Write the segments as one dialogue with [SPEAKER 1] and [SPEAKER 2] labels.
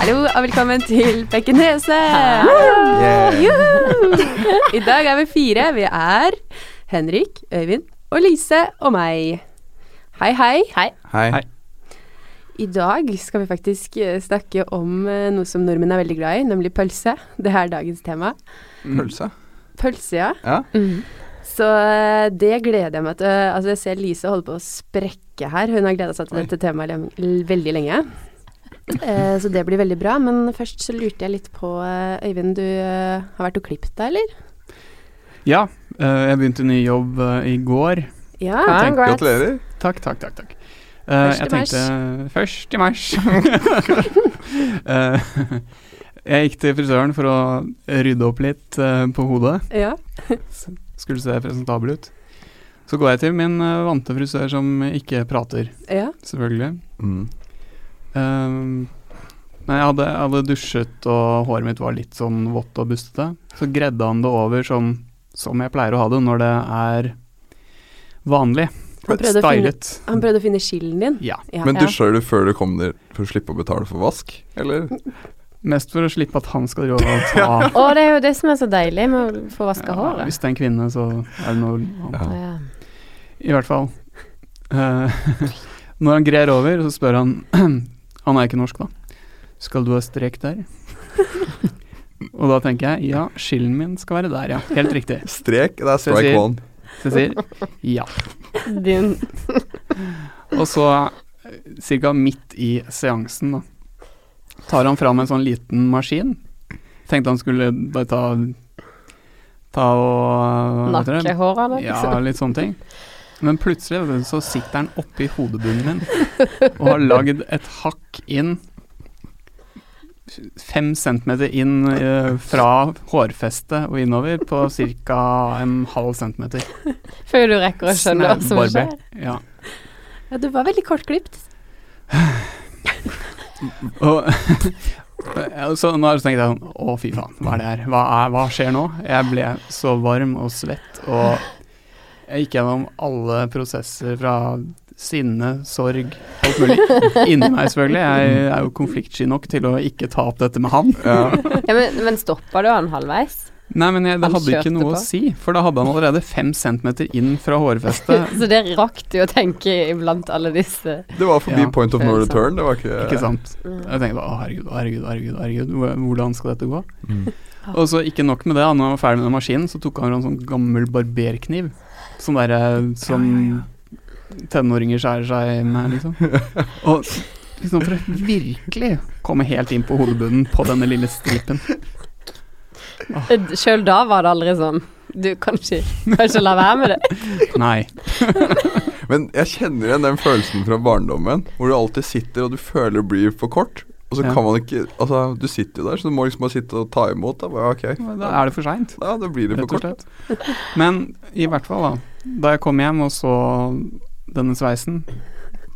[SPEAKER 1] Hallo og velkommen til Bekkenese.
[SPEAKER 2] Yeah.
[SPEAKER 1] I dag er vi fire. Vi er Henrik, Øyvind og Lise og meg. Hei, hei.
[SPEAKER 3] Hei.
[SPEAKER 2] Hei.
[SPEAKER 4] Hei.
[SPEAKER 1] I dag skal vi faktisk eh, snakke om eh, noe som nordmenn er veldig glad i, nemlig pølse. Det er dagens tema.
[SPEAKER 4] Mm.
[SPEAKER 2] Pølse?
[SPEAKER 1] Pølse, ja.
[SPEAKER 2] Ja.
[SPEAKER 1] Så eh, det gleder jeg meg til. Altså, jeg ser Lise holde på å sprekke her. Hun har gleda seg til
[SPEAKER 2] Oi.
[SPEAKER 1] dette temaet lem- l- veldig lenge. Eh, Så det blir veldig bra. Men først så lurte jeg litt på eh, Øyvind, du eh, har vært og klippet deg, eller?
[SPEAKER 4] Ja, eh, jeg begynte ny jobb eh, i går.
[SPEAKER 1] Ja.
[SPEAKER 4] Jeg tenkte-
[SPEAKER 2] Gratulerer.
[SPEAKER 4] Takk, takk, takk. takk. Eh,
[SPEAKER 1] Ah, Først i
[SPEAKER 4] jeg tenkte Først i mars. Eh, jeg gikk til frisøren for å rydde opp litt eh, på hodet.
[SPEAKER 1] ja.
[SPEAKER 4] S- Skulle se presentabel ut. Så går jeg til min eh, vante frisør som ikke prater,
[SPEAKER 1] Ja.
[SPEAKER 4] selvfølgelig.
[SPEAKER 2] Mm.
[SPEAKER 4] Ehm, nei, jeg hadde, jeg hadde dusjet, og håret mitt var litt sånn vått og bustete. Så gredde han det over som, som jeg pleier å ha det når det er vanlig.
[SPEAKER 1] Han prøvde å finne-
[SPEAKER 4] Stylet.
[SPEAKER 1] Han prøvde å finne skillen din.
[SPEAKER 4] Ja.
[SPEAKER 1] Ja.
[SPEAKER 2] Men dusjer du før du kom der for å slippe å betale for vask, eller?
[SPEAKER 1] Mm.
[SPEAKER 4] Mest for å slippe at han skal drive og ta
[SPEAKER 3] Og det er jo det som er så deilig med å få vaska
[SPEAKER 4] ja,
[SPEAKER 3] håret.
[SPEAKER 4] Hvis det er en kvinne, så er det noe annet.
[SPEAKER 2] Ja.
[SPEAKER 3] Ja.
[SPEAKER 4] I hvert fall. Eh, når han grer over, så spør han Han er ikke norsk, da. Skal du ha strek der? og da tenker jeg ja, skillen min skal være der, ja. Helt riktig.
[SPEAKER 2] Strek, det er
[SPEAKER 4] Så jeg
[SPEAKER 2] strike
[SPEAKER 4] sier-
[SPEAKER 2] one.
[SPEAKER 4] Så jeg sier ja.
[SPEAKER 3] Din.
[SPEAKER 4] Og så ca. midt i seansen da, tar han fram en sånn liten maskin. Tenkte han skulle bare ta Ta og hva heter det?
[SPEAKER 3] Nakke håret av det.
[SPEAKER 4] Ja, litt sånne ting. Men plutselig vet du, så sitter han oppi hodebunnen min og har lagd et hakk inn Fem centimeter inn eh, fra hårfestet og innover på ca. en halv centimeter.
[SPEAKER 3] Før du rekker å skjønne hva som skjer.
[SPEAKER 4] Snaubarber. Ja.
[SPEAKER 1] Ja, du var veldig kortklipt.
[SPEAKER 4] Og og så nå har jeg tenkt sånn Å, fy faen, hva er det her? Hva, er, hva skjer nå? Jeg ble så varm og svett, og jeg gikk gjennom alle prosesser fra sinne, sorg, alt mulig. Inni meg, selvfølgelig. Jeg er jo konfliktsky nok til å ikke ta opp dette med han.
[SPEAKER 2] Ja.
[SPEAKER 3] Ja, men men stoppa du han halvveis?
[SPEAKER 4] Nei, men jeg, det
[SPEAKER 3] Han
[SPEAKER 4] hadde ikke
[SPEAKER 3] kjørte
[SPEAKER 4] noe
[SPEAKER 3] på.
[SPEAKER 4] å si, for da hadde han allerede fem centimeter inn fra hårfestet.
[SPEAKER 3] Så det rakk du å tenke iblant alle disse
[SPEAKER 2] Det var forbi
[SPEAKER 4] Ja.
[SPEAKER 2] point of no
[SPEAKER 3] Følelser.
[SPEAKER 2] return, det var ikke
[SPEAKER 4] Ikke sant?
[SPEAKER 3] mm.
[SPEAKER 4] Jeg tenkte bare, å herregud, herregud, herregud, herregud, hvor- hvordan skal dette gå?
[SPEAKER 2] Mm.
[SPEAKER 4] Og så ikke nok med det, da, når han var ferdig med den maskinen, så tok han en sånn gammel barberkniv. Sånn derre som tenåringer skjærer seg med, liksom. Og liksom for å virkelig komme helt inn på hodebunnen på denne lille stripen.
[SPEAKER 3] Sjøl Eh, da var det aldri sånn. Du kan ikke, kan ikke la være med det.
[SPEAKER 4] Nei.
[SPEAKER 2] Men jeg kjenner igjen den følelsen fra barndommen, hvor du alltid sitter og du føler det blir for kort. Og så
[SPEAKER 4] Ja.
[SPEAKER 2] kan man ikke Altså, du sitter jo der, så du må liksom bare sitte og ta imot. Da, bare, ok.
[SPEAKER 4] Da er det for seint,
[SPEAKER 2] ja, da blir det for
[SPEAKER 4] rett og
[SPEAKER 2] kort.
[SPEAKER 4] slett. Men i hvert fall, da. Da jeg kom hjem og så denne sveisen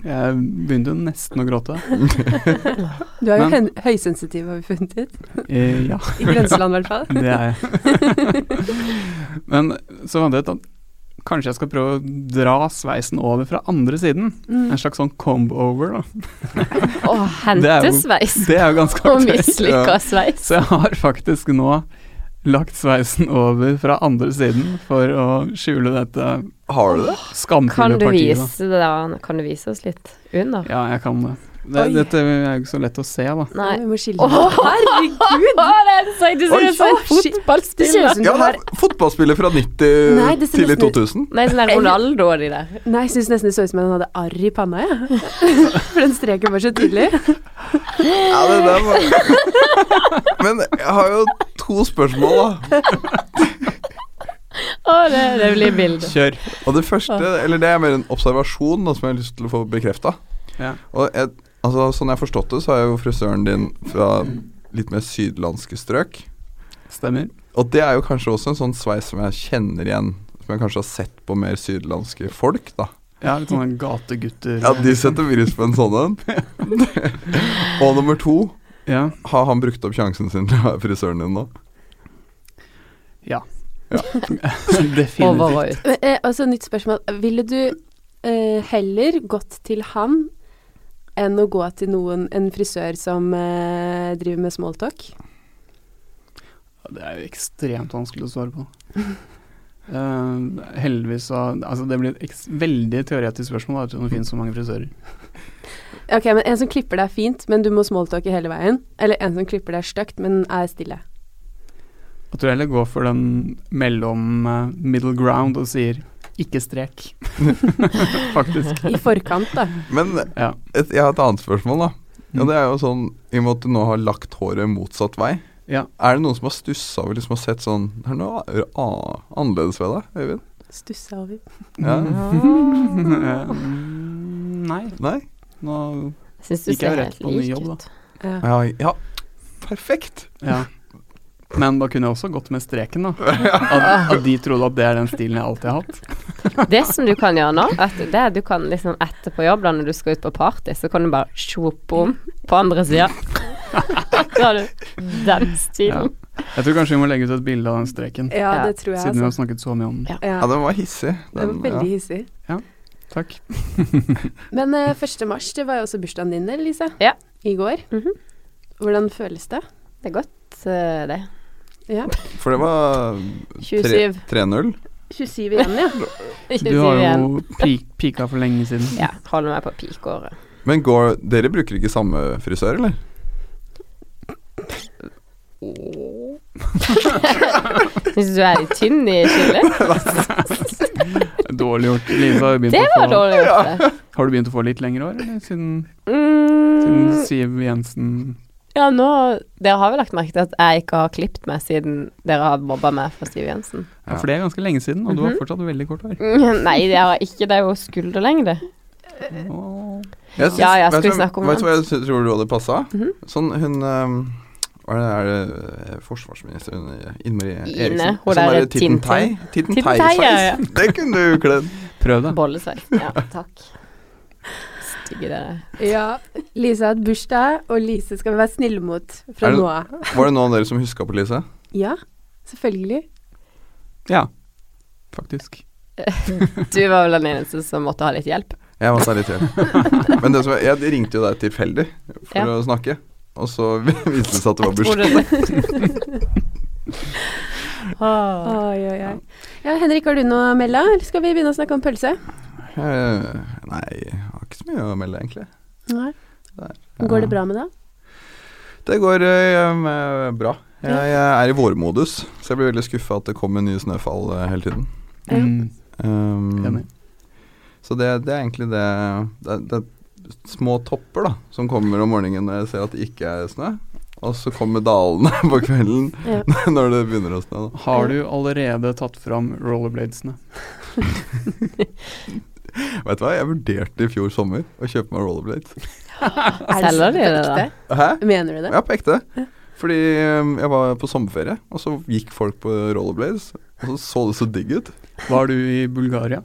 [SPEAKER 4] Jeg begynte jo nesten å gråte.
[SPEAKER 1] Du er jo
[SPEAKER 4] Men-
[SPEAKER 1] hen- høysensitiv, har vi funnet ut.
[SPEAKER 4] Eh, ja.
[SPEAKER 1] I grenseland, i hvert fall.
[SPEAKER 4] Det er jeg. Men så fant jeg ut at kanskje jeg skal prøve å dra sveisen over fra andre siden.
[SPEAKER 1] Mm.
[SPEAKER 4] En slags sånn comb over, da.
[SPEAKER 3] Å,
[SPEAKER 4] Det er jo-
[SPEAKER 3] hentesveis
[SPEAKER 4] Det er jo ganske
[SPEAKER 3] og
[SPEAKER 4] aktuelt.
[SPEAKER 3] mislykka sveis.
[SPEAKER 4] Så jeg har faktisk nå lagt sveisen over fra andre siden for å skjule dette
[SPEAKER 2] Har du det?
[SPEAKER 3] Kan
[SPEAKER 4] skamfulle
[SPEAKER 3] du,
[SPEAKER 4] partiet. da.
[SPEAKER 3] vise det der, kan du vise oss litt under?
[SPEAKER 4] Ja, jeg kan det. det
[SPEAKER 1] Oi.
[SPEAKER 4] dette er jo ikke så lett å se, da.
[SPEAKER 3] Nei.
[SPEAKER 1] Vi må skille
[SPEAKER 3] Å,
[SPEAKER 1] Herregud!
[SPEAKER 3] Å, det er så, du ser
[SPEAKER 2] Oi,
[SPEAKER 3] ut som en
[SPEAKER 1] å, shit. Det ser
[SPEAKER 3] fotballspiller.
[SPEAKER 1] ut som du
[SPEAKER 2] Ja, det
[SPEAKER 1] har
[SPEAKER 2] er fotballspiller fra 90
[SPEAKER 1] Nei, det ser
[SPEAKER 2] til i
[SPEAKER 1] nesten ut-
[SPEAKER 2] 2000.
[SPEAKER 3] Nei, sånn der Ronaldo og de der.
[SPEAKER 1] Nei, jeg syns nesten det så ut som han hadde arr i panna, jeg. For den streken var så tydelig.
[SPEAKER 2] Ja, det der var Men jeg har jo to spørsmål, da.
[SPEAKER 3] Å, det, det blir bildet.
[SPEAKER 4] Kjør.
[SPEAKER 2] Og det første, eller det er mer en observasjon da, som jeg har lyst til å få bekrefta.
[SPEAKER 4] Ja.
[SPEAKER 2] Og jeg, altså, sånn jeg har forstått det, så er jo frisøren din fra litt mer sydlandske strøk.
[SPEAKER 4] Stemmer.
[SPEAKER 2] Og det er jo kanskje også en sånn sveis som jeg kjenner igjen. Som jeg kanskje har sett på mer sydlandske folk, da.
[SPEAKER 4] Ja, litt sånne gategutter.
[SPEAKER 2] Ja, de setter pris på en sånn en. Og nummer to,
[SPEAKER 4] Ja.
[SPEAKER 2] har han brukt opp sjansen sin til å være frisøren din nå?
[SPEAKER 4] Definitivt.
[SPEAKER 3] Over og ut.
[SPEAKER 1] altså, Men, eh, Og så nytt spørsmål. Ville du eh, heller gått til han enn å gå til noen, en frisør som eh, driver med smalltalk.
[SPEAKER 4] Det er jo ekstremt vanskelig å svare på. Eh, heldigvis så Altså, det blir et eks- veldig teoretisk spørsmål, da, ettersom det finnes så mange frisører.
[SPEAKER 1] Ok, men En som klipper deg fint, men du må smalltalke hele veien. Eller en som klipper deg stygt, men er stille.
[SPEAKER 4] Jeg tror jeg heller går for den mellom eh, middle ground og sier ikke strek, faktisk.
[SPEAKER 1] I forkant, da.
[SPEAKER 2] Men
[SPEAKER 4] Ja. Mm.
[SPEAKER 2] et, jeg har et annet spørsmål, da. Og det er jo sånn, I og med at du nå har lagt håret motsatt vei,
[SPEAKER 4] Ja.
[SPEAKER 2] er det noen som har stussa over liksom har sett sånn Det er noe a- a- annerledes ved deg, Øyvind?
[SPEAKER 1] Stussa over.
[SPEAKER 2] Ja.
[SPEAKER 4] Eh, Nei,
[SPEAKER 2] Nei?
[SPEAKER 4] nå
[SPEAKER 3] Jeg syns du
[SPEAKER 4] Gikk jeg
[SPEAKER 3] ser
[SPEAKER 4] rett
[SPEAKER 3] helt
[SPEAKER 4] på ny
[SPEAKER 3] lik
[SPEAKER 4] jobb, da?
[SPEAKER 3] ut.
[SPEAKER 1] Ja.
[SPEAKER 2] Ja, ja. perfekt!
[SPEAKER 4] Ja. Men da kunne jeg også gått med streken, da. At, at de trodde at det er den stilen jeg alltid har hatt.
[SPEAKER 3] Det som du kan gjøre nå, at det er du kan liksom etterpå jobb, da når du skal ut på party, så kan du bare sjope om på andre sida. Da har du den
[SPEAKER 4] Ja.
[SPEAKER 3] stilen.
[SPEAKER 4] Jeg tror kanskje vi må legge ut et bilde av den streken,
[SPEAKER 1] ja,
[SPEAKER 3] Ja,
[SPEAKER 1] det tror jeg,
[SPEAKER 4] siden vi har
[SPEAKER 1] altså.
[SPEAKER 4] snakket så mye om den.
[SPEAKER 1] Ja,
[SPEAKER 2] Ja, den var hissig.
[SPEAKER 1] det var
[SPEAKER 2] Den,
[SPEAKER 1] veldig hissig.
[SPEAKER 4] Takk.
[SPEAKER 1] Men eh, 1. mars, det var jo også bursdagen din, Elise.
[SPEAKER 3] Ja.
[SPEAKER 1] I går.
[SPEAKER 3] Mhm.
[SPEAKER 1] Hvordan føles det?
[SPEAKER 3] Det er godt, eh, det.
[SPEAKER 1] Ja.
[SPEAKER 2] ja. For det var
[SPEAKER 3] 27.
[SPEAKER 2] 3-0.
[SPEAKER 1] 27 igjen, ja.
[SPEAKER 4] Du har
[SPEAKER 3] 27 igjen.
[SPEAKER 4] jo pi- pika for lenge siden.
[SPEAKER 3] Ja, holder meg på pikåret.
[SPEAKER 2] Men går, dere bruker ikke samme frisør, eller?
[SPEAKER 3] Syns du er litt tynn i skillet?
[SPEAKER 4] Dårlig gjort. Lisa, har, du begynt
[SPEAKER 3] Det
[SPEAKER 4] å
[SPEAKER 3] var
[SPEAKER 4] få,
[SPEAKER 3] dårlig gjort, det.
[SPEAKER 4] har du begynt å få litt lengre hår, eller? Siden, siden
[SPEAKER 3] Mm,
[SPEAKER 4] Siv Jensen
[SPEAKER 3] ja, nå Dere har vel lagt merke til at jeg ikke har klippet meg siden dere har mobba meg for Siv Jensen?
[SPEAKER 4] ja, For det er ganske lenge siden, og du har
[SPEAKER 3] Mhm.
[SPEAKER 4] fortsatt veldig kort hår.
[SPEAKER 3] Nei, det har jeg ikke. Det er jo skulderlengde. Mm.
[SPEAKER 4] Åh.
[SPEAKER 2] Jeg syns-
[SPEAKER 3] Ja, ja,
[SPEAKER 2] vet
[SPEAKER 3] skal vi
[SPEAKER 2] du hva-
[SPEAKER 3] snakke om
[SPEAKER 2] Vet du hva jeg sy- tror du hadde passa?
[SPEAKER 3] Mhm.
[SPEAKER 2] Sånn hun ehm, Hva er det, er det eh, forsvarsminister hun eh, Innmari
[SPEAKER 3] Ine,
[SPEAKER 2] Eriksen?
[SPEAKER 3] hun
[SPEAKER 2] sånn
[SPEAKER 3] der
[SPEAKER 2] der Titten
[SPEAKER 3] Tintin.
[SPEAKER 2] Tei? Titten
[SPEAKER 3] Titten
[SPEAKER 2] Tei-sveis.
[SPEAKER 3] Tei, ja, ja.
[SPEAKER 2] Det kunne du kledd.
[SPEAKER 4] Prøv det.
[SPEAKER 3] Bollesveis. Ja, takk. Stygge dere.
[SPEAKER 1] ja. Lise har hatt bursdag, og Lise skal vi være snille mot fra
[SPEAKER 2] Er det-
[SPEAKER 1] nå av.
[SPEAKER 2] Var det noen av dere som huska på Lise?
[SPEAKER 1] Ja, selvfølgelig.
[SPEAKER 4] Ja, faktisk.
[SPEAKER 3] Du var vel den eneste som måtte ha litt hjelp.
[SPEAKER 2] Jeg måtte ha litt hjelp. Men det som, er- jeg ringte jo deg tilfeldig
[SPEAKER 3] Ja.
[SPEAKER 2] for å snakke, og så viste det seg at det var
[SPEAKER 3] Jeg tror
[SPEAKER 2] bursdag.
[SPEAKER 3] det- Åh.
[SPEAKER 1] Oi, oi, oi. Ja, Henrik, har du noe å melde? Eller skal vi begynne å snakke om pølse?
[SPEAKER 2] Eh, Nei, jeg har ikke så mye å melde, egentlig.
[SPEAKER 1] Nei.
[SPEAKER 2] Nei.
[SPEAKER 1] Går det bra med deg?
[SPEAKER 2] Det går eh, eh, bra. Jeg, jeg er i vårmodus, så jeg blir veldig skuffa at det kommer nye snøfall eh, hele tiden.
[SPEAKER 1] Ja.
[SPEAKER 4] Mm,
[SPEAKER 2] Ehm,
[SPEAKER 4] enig.
[SPEAKER 2] så det, det er egentlig det det, er- det er små topper da som kommer om morgenen når jeg ser at det ikke er snø. Og så kommer dalene på kvelden
[SPEAKER 1] Ja.
[SPEAKER 2] når det begynner å snø. Da.
[SPEAKER 4] Har du allerede tatt fram rollerbladesene?
[SPEAKER 2] Vet du hva, jeg vurderte i fjor sommer å kjøpe meg rollerblades.
[SPEAKER 1] Er det
[SPEAKER 3] Selger de det, da?
[SPEAKER 1] ekte?
[SPEAKER 2] Hæ?
[SPEAKER 1] Mener du det?
[SPEAKER 2] Ja, på ekte. Fordi ehm, jeg var på sommerferie, og så gikk folk på rollerblades. Og så så det så digg ut.
[SPEAKER 4] Var du i Bulgaria?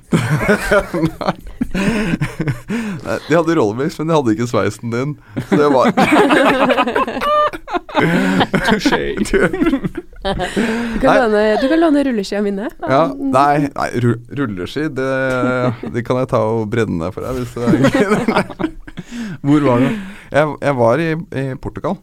[SPEAKER 2] Nei. Nei, de hadde rollerblades, men de hadde ikke sveisen din. Så det var
[SPEAKER 4] Touché.
[SPEAKER 1] Du kan,
[SPEAKER 2] Nei.
[SPEAKER 1] låne, du kan låne rulleskia mine.
[SPEAKER 2] Ja, nei, nei ru- rulleski, det, det kan jeg ta og brenne ned for deg. Hvis det er gøy.
[SPEAKER 4] Hvor var du?
[SPEAKER 2] jeg, jeg var i, i Portugal,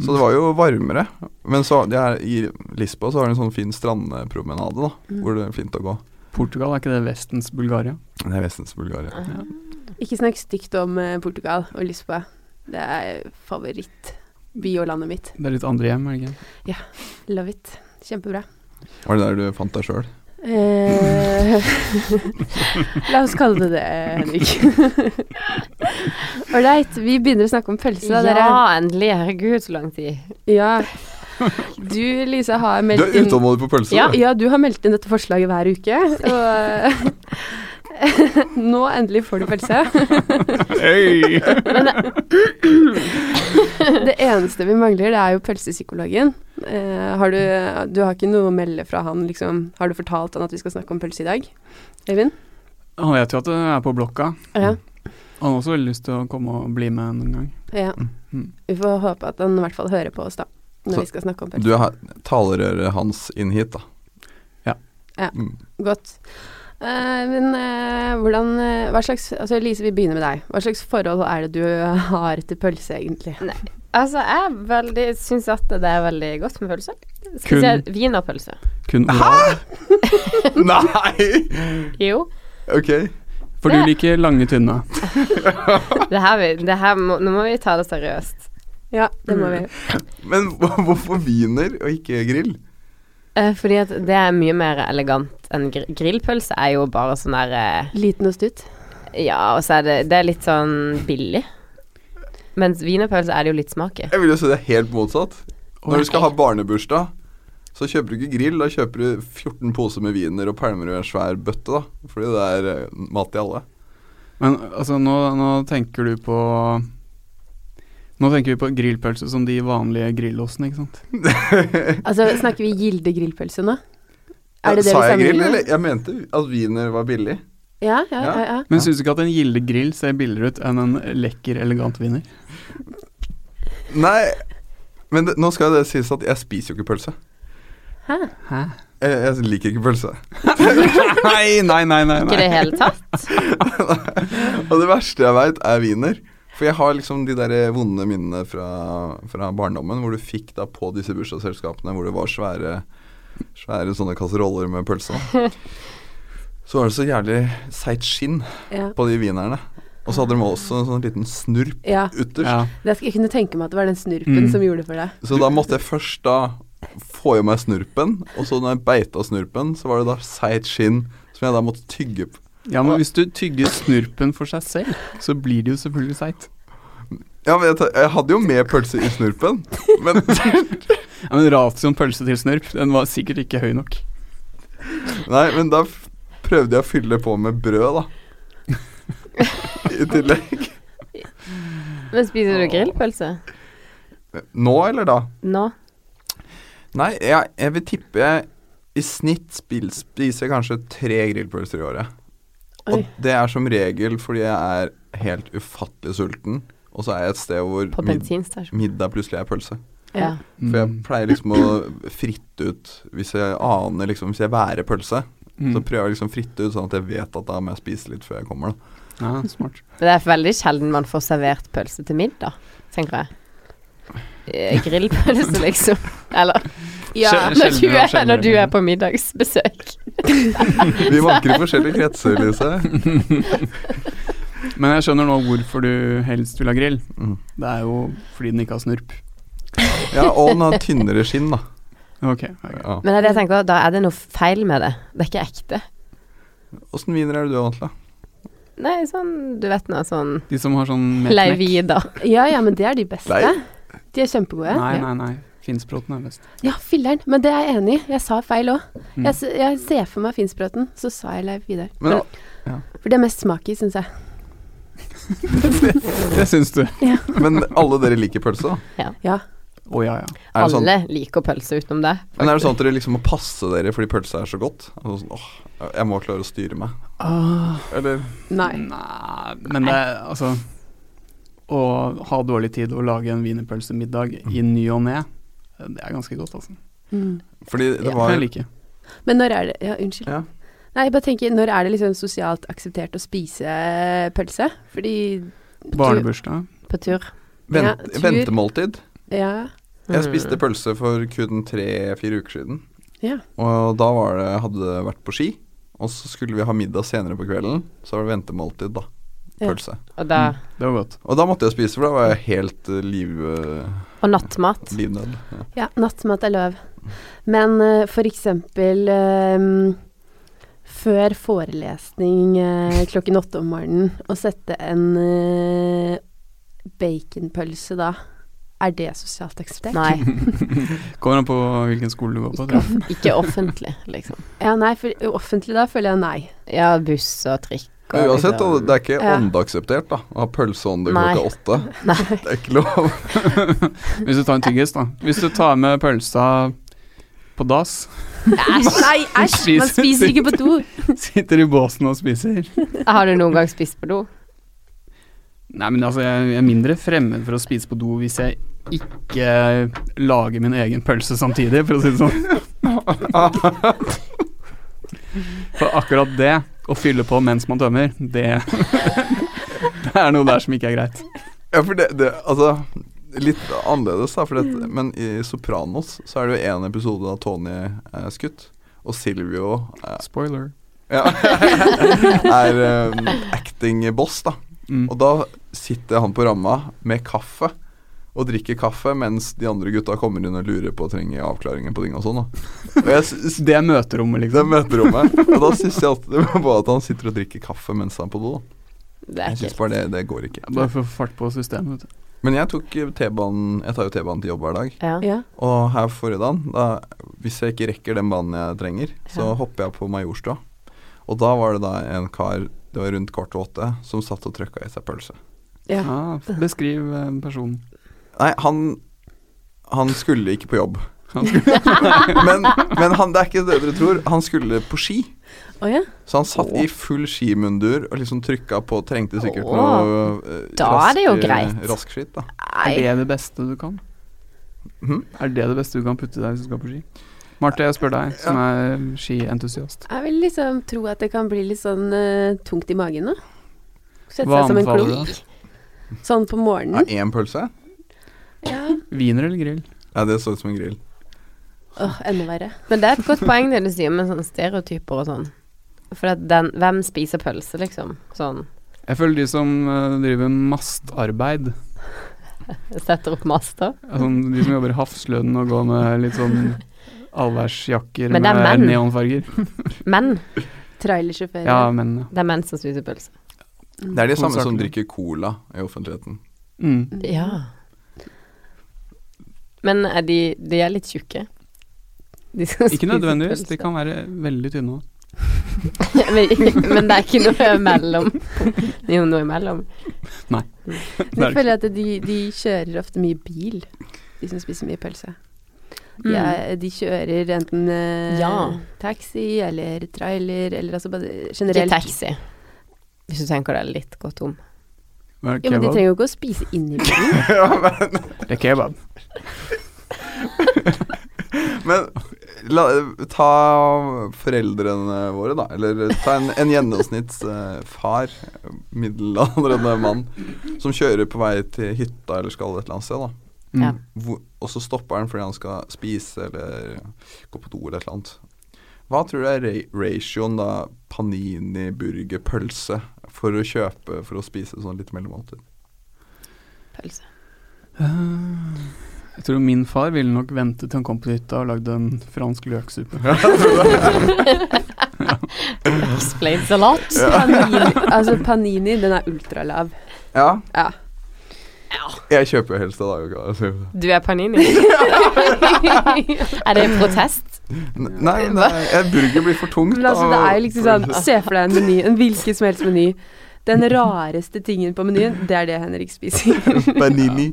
[SPEAKER 2] så det var jo varmere. Men så det er, i Lisboa så har de en sånn fin strandpromenade,
[SPEAKER 1] Mm.
[SPEAKER 2] da, hvor det er fint å gå.
[SPEAKER 4] Portugal, er ikke det Vestens Bulgaria?
[SPEAKER 2] Det er vestens Bulgaria.
[SPEAKER 1] Ikke snakk stygt om eh, Portugal og Lisboa. Det er favorittby og landet mitt.
[SPEAKER 4] Det er litt andre hjem, er det ikke?
[SPEAKER 1] Love it. Kjempebra.
[SPEAKER 2] Var det der du fant deg sjøl?
[SPEAKER 1] Eh, La oss kalle det det, Henrik. Ålreit, vi begynner å snakke om pølse, da, dere.
[SPEAKER 3] Ja, endelig. Herregud, så lang tid.
[SPEAKER 1] Ja. Du, Lisa, har
[SPEAKER 2] Du
[SPEAKER 1] meldt
[SPEAKER 2] er
[SPEAKER 1] inn
[SPEAKER 2] utålmodig på pølse?
[SPEAKER 1] ja,
[SPEAKER 2] du.
[SPEAKER 1] ja, du har meldt inn dette forslaget hver uke, og nå endelig får du pølse. Det eneste vi mangler, det er jo pølsepsykologen. Eh, har du, du har ikke noe å melde fra han, liksom? Har du fortalt han at vi skal snakke om pølse i dag? Øyvind?
[SPEAKER 4] Han vet jo at det er på blokka.
[SPEAKER 1] Ja.
[SPEAKER 4] Han har også veldig lyst til å komme og bli med noen gang.
[SPEAKER 1] ja.
[SPEAKER 4] Mm.
[SPEAKER 1] Vi får håpe at han i hvert fall hører på oss, da. Når
[SPEAKER 2] Så-
[SPEAKER 1] vi skal snakke om
[SPEAKER 2] Du
[SPEAKER 1] pølse.
[SPEAKER 2] er talerøret hans inn hit, da.
[SPEAKER 1] Godt. Eh, men eh, hvordan eh, Hva slags Altså Lise, vi begynner med deg. Hva slags forhold er det du har til pølse, egentlig?
[SPEAKER 3] Altså, jeg er veldig syns at det er veldig godt med pølse. Spesielt wienerpølse.
[SPEAKER 4] Kun oral.
[SPEAKER 2] Nei!
[SPEAKER 3] Jo.
[SPEAKER 2] Ok.
[SPEAKER 4] For du liker lange, tynne.
[SPEAKER 3] Det her, vi, det her må, nå må vi ta det seriøst.
[SPEAKER 1] Ja, det må vi.
[SPEAKER 2] Men hva- hvorfor wiener og ikke grill?
[SPEAKER 3] Eh, fordi at det er mye mer elegant enn gr grillpølse. er jo bare sånn der eh,
[SPEAKER 1] Liten og stutt.
[SPEAKER 3] Ja, og så er det, det er litt sånn billig. Mens wienerpølse er det jo litt smak i.
[SPEAKER 2] Jeg vil jo si det er helt motsatt. Når du skal ha barnebursdag, så kjøper du ikke grill, da kjøper du 14 poser med wiener og pælmer i en svær bøtte, da. Fordi det er eh, mat til alle.
[SPEAKER 4] Men altså, nå, nå tenker du på Nå tenker vi på grillpølse som de vanlige grillåsene, ikke sant.
[SPEAKER 1] Altså, snakker vi Gilde grillpølse nå? Er det det
[SPEAKER 2] Sa
[SPEAKER 1] vi
[SPEAKER 2] jeg grill,
[SPEAKER 1] sammenligner?
[SPEAKER 2] eller? Jeg mente at wiener var billig.
[SPEAKER 1] Ja, ja,
[SPEAKER 2] Ja.
[SPEAKER 1] ja. ja.
[SPEAKER 4] Men syns du ikke at en Gilde grill ser billigere ut enn en lekker, elegant wiener?
[SPEAKER 2] Nei, men det, nå skal det sies at jeg spiser jo ikke pølse.
[SPEAKER 1] Hæ?
[SPEAKER 4] Hæ?
[SPEAKER 2] Jeg, jeg liker ikke pølse.
[SPEAKER 4] nei, nei, nei, nei.
[SPEAKER 3] Ikke i
[SPEAKER 4] nei.
[SPEAKER 3] det hele tatt.
[SPEAKER 2] Og det verste jeg veit, er wiener. For jeg har liksom de der vonde minnene fra, fra barndommen, hvor du fikk da på disse bursdagsselskapene hvor det var svære, svære sånne kasseroller med pølse. da. Så var det så jævlig seigt skinn
[SPEAKER 1] Ja.
[SPEAKER 2] på de wienerne. Og så hadde de også en sånn liten snurp
[SPEAKER 1] ja.
[SPEAKER 2] ytterst.
[SPEAKER 4] Ja.
[SPEAKER 1] Det skal, jeg kunne tenke meg at det var den snurpen
[SPEAKER 4] Mm.
[SPEAKER 1] som gjorde det for deg.
[SPEAKER 2] Så da måtte jeg først da få i meg snurpen, og så når jeg beita snurpen, så var det da seigt skinn som jeg da måtte tygge på.
[SPEAKER 4] ja, men hvis du tygger snurpen for seg selv, så blir det jo selvfølgelig seigt.
[SPEAKER 2] Ja, men jeg, ta- jeg hadde jo med pølse i snurpen, men
[SPEAKER 4] Ja, men ratioen pølse til snurp, den var sikkert ikke høy nok.
[SPEAKER 2] Nei, men da f- prøvde jeg å fylle på med brød, da. I tillegg.
[SPEAKER 3] Men spiser du grillpølse?
[SPEAKER 2] Nå eller da?
[SPEAKER 3] Nå?
[SPEAKER 2] Nei, jeg, jeg vil tippe jeg i snitt spil, spiser jeg kanskje tre grillpølser i året. Og
[SPEAKER 1] Oi.
[SPEAKER 2] det er som regel fordi jeg er helt ufattelig sulten, og så er jeg et sted hvor
[SPEAKER 3] På
[SPEAKER 2] mid,
[SPEAKER 3] bensinstasjon?
[SPEAKER 2] middag plutselig er pølse.
[SPEAKER 1] Ja.
[SPEAKER 3] Ja.
[SPEAKER 2] For
[SPEAKER 4] Mm.
[SPEAKER 2] jeg pleier liksom å fritte ut hvis jeg aner liksom Hvis jeg værer pølse, så
[SPEAKER 4] Mm.
[SPEAKER 2] prøver jeg liksom å fritte ut sånn at jeg vet at da må jeg spise litt før jeg kommer, da.
[SPEAKER 4] Ja, smart.
[SPEAKER 3] Men det er veldig sjelden man får servert pølse til middag, tenker jeg. Eh, Grillpølse, liksom. Eller
[SPEAKER 1] Ja.
[SPEAKER 4] Skjø-
[SPEAKER 3] når du,
[SPEAKER 4] sjeldnere og
[SPEAKER 3] er, når du
[SPEAKER 4] sjeldnere.
[SPEAKER 3] er på middagsbesøk.
[SPEAKER 2] Vi vanker i forskjellige kretser, Lise.
[SPEAKER 4] Men jeg skjønner nå hvorfor du helst vil ha grill.
[SPEAKER 2] Mm.
[SPEAKER 4] Det er jo fordi den ikke har snurp.
[SPEAKER 2] Ja, og den har tynnere skinn, da.
[SPEAKER 4] Ok, ok.
[SPEAKER 2] Ja.
[SPEAKER 3] Men det er det jeg tenker, da er det noe feil med det. Det er ikke ekte.
[SPEAKER 2] Åssen wiener er det du har vant til? da?
[SPEAKER 3] Nei, sånn du vet nå, sånn
[SPEAKER 4] De som har sånn med knekk.
[SPEAKER 3] Leivida.
[SPEAKER 1] ja, ja, men det er de beste.
[SPEAKER 2] Nei.
[SPEAKER 1] De er kjempegode.
[SPEAKER 4] Nei,
[SPEAKER 1] Ja.
[SPEAKER 4] nei, nei. Finsbråten er best.
[SPEAKER 1] Ja, filleren. Men det er jeg enig i. Jeg sa feil òg.
[SPEAKER 4] Mm.
[SPEAKER 1] Jeg, s- jeg ser for meg Finnsbråten, så sa jeg Leif Vidar.
[SPEAKER 2] Men,
[SPEAKER 1] For- For det er mest smak i, syns jeg.
[SPEAKER 4] Det syns du.
[SPEAKER 2] men alle dere liker pølse, da?
[SPEAKER 1] Ja.
[SPEAKER 4] Å ja, ja.
[SPEAKER 2] Er det sånn,
[SPEAKER 3] Alle liker pølse utenom det.
[SPEAKER 2] men er det sånn at dere liksom må passe dere fordi pølse er så godt? Altså sånn, åh, jeg må klare å styre meg. Eller
[SPEAKER 1] Nei.
[SPEAKER 4] Nei, men det er altså Å ha dårlig tid og lage en wienerpølsemiddag i ny og ne, det er ganske godt, altså.
[SPEAKER 1] Mm.
[SPEAKER 2] Fordi det
[SPEAKER 4] Det kan
[SPEAKER 2] var
[SPEAKER 4] jeg like.
[SPEAKER 1] Men når er det Ja, unnskyld.
[SPEAKER 2] Ja.
[SPEAKER 1] Nei, jeg bare tenker, når er det liksom sosialt akseptert å spise eh, pølse? Fordi
[SPEAKER 4] Barnebursdag.
[SPEAKER 3] På tur.
[SPEAKER 1] Ja,
[SPEAKER 2] vent,
[SPEAKER 1] tur.
[SPEAKER 2] ventemåltid.
[SPEAKER 1] Ja.
[SPEAKER 2] sånn, Jeg
[SPEAKER 3] Mm.
[SPEAKER 2] spiste pølse for kun tre-fire uker siden.
[SPEAKER 1] Ja.
[SPEAKER 2] Og da var det, hadde det vært på ski, og så skulle vi ha middag senere på kvelden. Så var det ventemåltid, da.
[SPEAKER 1] Ja.
[SPEAKER 2] Pølse.
[SPEAKER 3] Og da
[SPEAKER 4] Mm, det var godt.
[SPEAKER 2] Og da måtte jeg spise, for da var jeg helt eh, liv, eh,
[SPEAKER 3] Og nattmat.
[SPEAKER 2] livnød. Ja.
[SPEAKER 1] ja nattmat er lov. Men eh, for eksempel eh, før forelesning eh, klokken åtte om morgenen, å sette en eh, baconpølse da, er det sosialt akseptert?
[SPEAKER 3] Nei,
[SPEAKER 4] Kommer an på hvilken skole du går
[SPEAKER 3] ikke,
[SPEAKER 4] på. tror jeg.
[SPEAKER 3] off ikke offentlig, liksom.
[SPEAKER 1] Ja, nei, for eh, offentlig da føler jeg nei.
[SPEAKER 3] Ja, buss og trikk. og
[SPEAKER 2] Men uansett, da,
[SPEAKER 3] liksom-
[SPEAKER 2] det er ikke
[SPEAKER 1] Ja.
[SPEAKER 2] åndeakseptert da, å ha pølseånde
[SPEAKER 3] Nei.
[SPEAKER 2] klokka åtte.
[SPEAKER 3] Nei.
[SPEAKER 2] Det er ikke lov.
[SPEAKER 4] Hvis du tar en tyggis, da. Hvis du tar med pølsa på dass,
[SPEAKER 1] Æsj, nei, æsj, man
[SPEAKER 4] Spiser-
[SPEAKER 1] spiser ikke på do.
[SPEAKER 4] sitter i båsen og spiser.
[SPEAKER 3] Har du noen gang spist på do?
[SPEAKER 4] Nei, men altså, jeg jeg er mindre fremmed for å spise på do hvis jeg ikke lager min egen pølse samtidig, for å si det sånn. For akkurat det, å fylle på mens man tømmer, det Det er noe der som ikke er greit.
[SPEAKER 2] Ja, for det, det Altså, litt annerledes, da. For det, men i Sopranos så er det jo én episode da Tony er skutt, og Silvio eh,
[SPEAKER 4] Spoiler.
[SPEAKER 2] ja, er eh, acting boss, da.
[SPEAKER 4] Mm.
[SPEAKER 2] Og da sitter han på ramma med kaffe og drikker kaffe mens de andre gutta kommer inn og lurer på å trenge avklaringer på ting og sånn. da. Og jeg synes,
[SPEAKER 4] Det er møterommet,
[SPEAKER 2] det er
[SPEAKER 4] liksom.
[SPEAKER 2] møterommet. Og da syns jeg alltid på at han sitter og drikker kaffe mens han er på do. da.
[SPEAKER 3] Det er
[SPEAKER 2] Jeg syns
[SPEAKER 3] kult.
[SPEAKER 2] bare det, det går ikke.
[SPEAKER 4] Bare for å få fart på systemet. vet du.
[SPEAKER 2] Men jeg tok eh, T-banen Jeg tar jo T-banen til jobb hver dag.
[SPEAKER 3] Ja.
[SPEAKER 1] Ja.
[SPEAKER 2] Og her forrige dagen, da, hvis jeg ikke rekker den banen jeg trenger, så
[SPEAKER 3] Ja.
[SPEAKER 2] hopper jeg på Majorstua. Og da var det da en kar, det var rundt kvart over åtte, som satt og trøkka i seg pølse.
[SPEAKER 1] ja.
[SPEAKER 4] Ah, beskriv eh, personen.
[SPEAKER 2] Nei, han Han skulle ikke på jobb.
[SPEAKER 4] Han skulle-
[SPEAKER 2] Men, men han, det er ikke det dere tror. Han skulle på ski.
[SPEAKER 1] Å ja.
[SPEAKER 2] Så han satt
[SPEAKER 4] Åh.
[SPEAKER 2] i full skimundur og liksom trykka på, trengte sikkert
[SPEAKER 3] Åh.
[SPEAKER 2] noe eh,
[SPEAKER 3] Da er det jo
[SPEAKER 2] rask, eh,
[SPEAKER 3] greit.
[SPEAKER 2] Rask skitt, da.
[SPEAKER 4] Er
[SPEAKER 1] Nei.
[SPEAKER 4] det det beste du kan?
[SPEAKER 2] Mhm.
[SPEAKER 4] Er det det beste du kan putte i deg hvis du skal på ski? Marte, jeg spør deg, som er skientusiast.
[SPEAKER 1] Jeg vil liksom tro at det kan bli litt sånn eh, tungt i magen nå. Sette
[SPEAKER 4] Hva
[SPEAKER 1] seg som en
[SPEAKER 4] anbefaler du?
[SPEAKER 1] klump. Sånn på
[SPEAKER 2] Er
[SPEAKER 1] morgenen.
[SPEAKER 2] én pølse?
[SPEAKER 1] Ja.
[SPEAKER 4] Wiener eller grill?
[SPEAKER 2] Ja, det så ut som en grill.
[SPEAKER 1] Åh, enda verre.
[SPEAKER 3] Men det er et godt poeng det du sier med sånne stereotyper og sånn. For at den, hvem spiser pølse, liksom? Sånn
[SPEAKER 4] Jeg føler de som eh, driver mastarbeid,
[SPEAKER 3] setter opp master.
[SPEAKER 4] altså de som jobber i Hafslønn og går med litt sånn allværsjakker
[SPEAKER 3] Men det er
[SPEAKER 4] med
[SPEAKER 3] menn.
[SPEAKER 4] neonfarger.
[SPEAKER 3] Menn.
[SPEAKER 1] Trailersjåfører.
[SPEAKER 4] Ja, menn, ja.
[SPEAKER 3] Det er menn som spiser pølse.
[SPEAKER 2] Det er de samme som
[SPEAKER 4] Hovedsakelig.
[SPEAKER 2] drikker cola i offentligheten.
[SPEAKER 4] Mm.
[SPEAKER 3] Ja. Men er de, de er litt tjukke. De som
[SPEAKER 4] Ikke
[SPEAKER 3] spiser
[SPEAKER 4] nødvendigvis,
[SPEAKER 3] pølse.
[SPEAKER 4] de kan være veldig tynne òg.
[SPEAKER 3] men, men det er ikke noe imellom. Det er jo noe imellom.
[SPEAKER 1] Men Jeg føler at de, de kjører ofte mye bil, de som spiser mye pølse. De,
[SPEAKER 3] Mm.
[SPEAKER 4] Mm.
[SPEAKER 1] er, de kjører enten eh,
[SPEAKER 3] Ja.
[SPEAKER 1] taxi eller trailer, eller altså bare
[SPEAKER 3] Ikke
[SPEAKER 1] generelt.
[SPEAKER 3] taxi. Hvis du tenker deg litt godt om.
[SPEAKER 1] Jo, men de trenger jo ikke å spise inni bilen.
[SPEAKER 2] ja, Mm. men,
[SPEAKER 4] Det er kebab.
[SPEAKER 2] men la, ta foreldrene våre, da. Eller ta en, en gjennomsnittsfar, middelaldrende mann, som kjører på vei til hytta eller skal et eller annet sted. da
[SPEAKER 4] Mm.
[SPEAKER 3] Ja.
[SPEAKER 2] hvor, og så stopper han fordi han skal spise eller gå på do eller et eller annet. Hva tror du er ra ratioen da panini, burger, pølse for å kjøpe for å spise sånn litt mellommåltid?
[SPEAKER 3] Pølse.
[SPEAKER 4] Eh, Jeg tror min far ville nok vente til han kom på hytta og lagde en fransk løksuppe.
[SPEAKER 3] Explains a lot.
[SPEAKER 1] Panini, altså panini, den er ultralav.
[SPEAKER 2] Ja.
[SPEAKER 1] Ja.
[SPEAKER 2] Jeg kjøper jo helst det, da. jo ikke det.
[SPEAKER 3] Du er Panini. er det en protest?
[SPEAKER 2] N- Nei, men det er- jeg- burger blir for tungt.
[SPEAKER 1] Men altså,
[SPEAKER 2] da,
[SPEAKER 1] det er jo liksom
[SPEAKER 2] for-
[SPEAKER 1] sånn, se for deg en meny, en hvilken som helst meny. Den rareste tingen på menyen, det er det Henrik spiser.
[SPEAKER 2] Panini.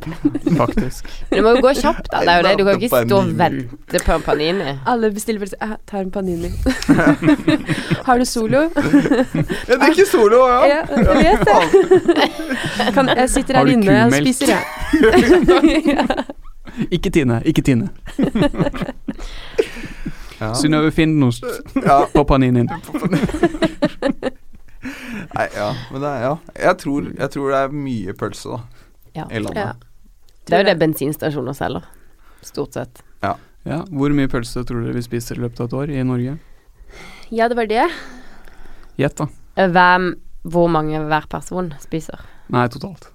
[SPEAKER 4] Faktisk.
[SPEAKER 3] Men Det må jo gå kjapt, da. Det er jo det. Du kan ikke stå og
[SPEAKER 2] Panini.
[SPEAKER 3] vente på en Panini.
[SPEAKER 1] Alle bestiller pølse. Jeg tar «Ah, en panini. Har du solo?
[SPEAKER 2] Jeg drikker solo, ja.
[SPEAKER 1] Ja, jeg vet det. Kan, jeg sitter
[SPEAKER 4] Har
[SPEAKER 1] her
[SPEAKER 4] du
[SPEAKER 1] inne og
[SPEAKER 4] kumelk?
[SPEAKER 1] spiser, jeg. ja.
[SPEAKER 4] Ikke Tine, ikke Tine.
[SPEAKER 2] ja.
[SPEAKER 4] Synnøve Finnost
[SPEAKER 2] ja.
[SPEAKER 4] på paninien.
[SPEAKER 2] Nei, ja. Men det er, ja. Jeg tror, jeg tror det er mye pølse, da.
[SPEAKER 3] Ja.
[SPEAKER 2] I landet.
[SPEAKER 1] Ja.
[SPEAKER 3] Det er jo det bensinstasjoner selger. Stort sett.
[SPEAKER 4] Ja, hvor mye pølse tror dere vi spiser i løpet av et år i Norge?
[SPEAKER 1] Ja, det var det.
[SPEAKER 4] Gjett, da.
[SPEAKER 3] Hvem, hvor mange hver person spiser?
[SPEAKER 4] Nei, totalt.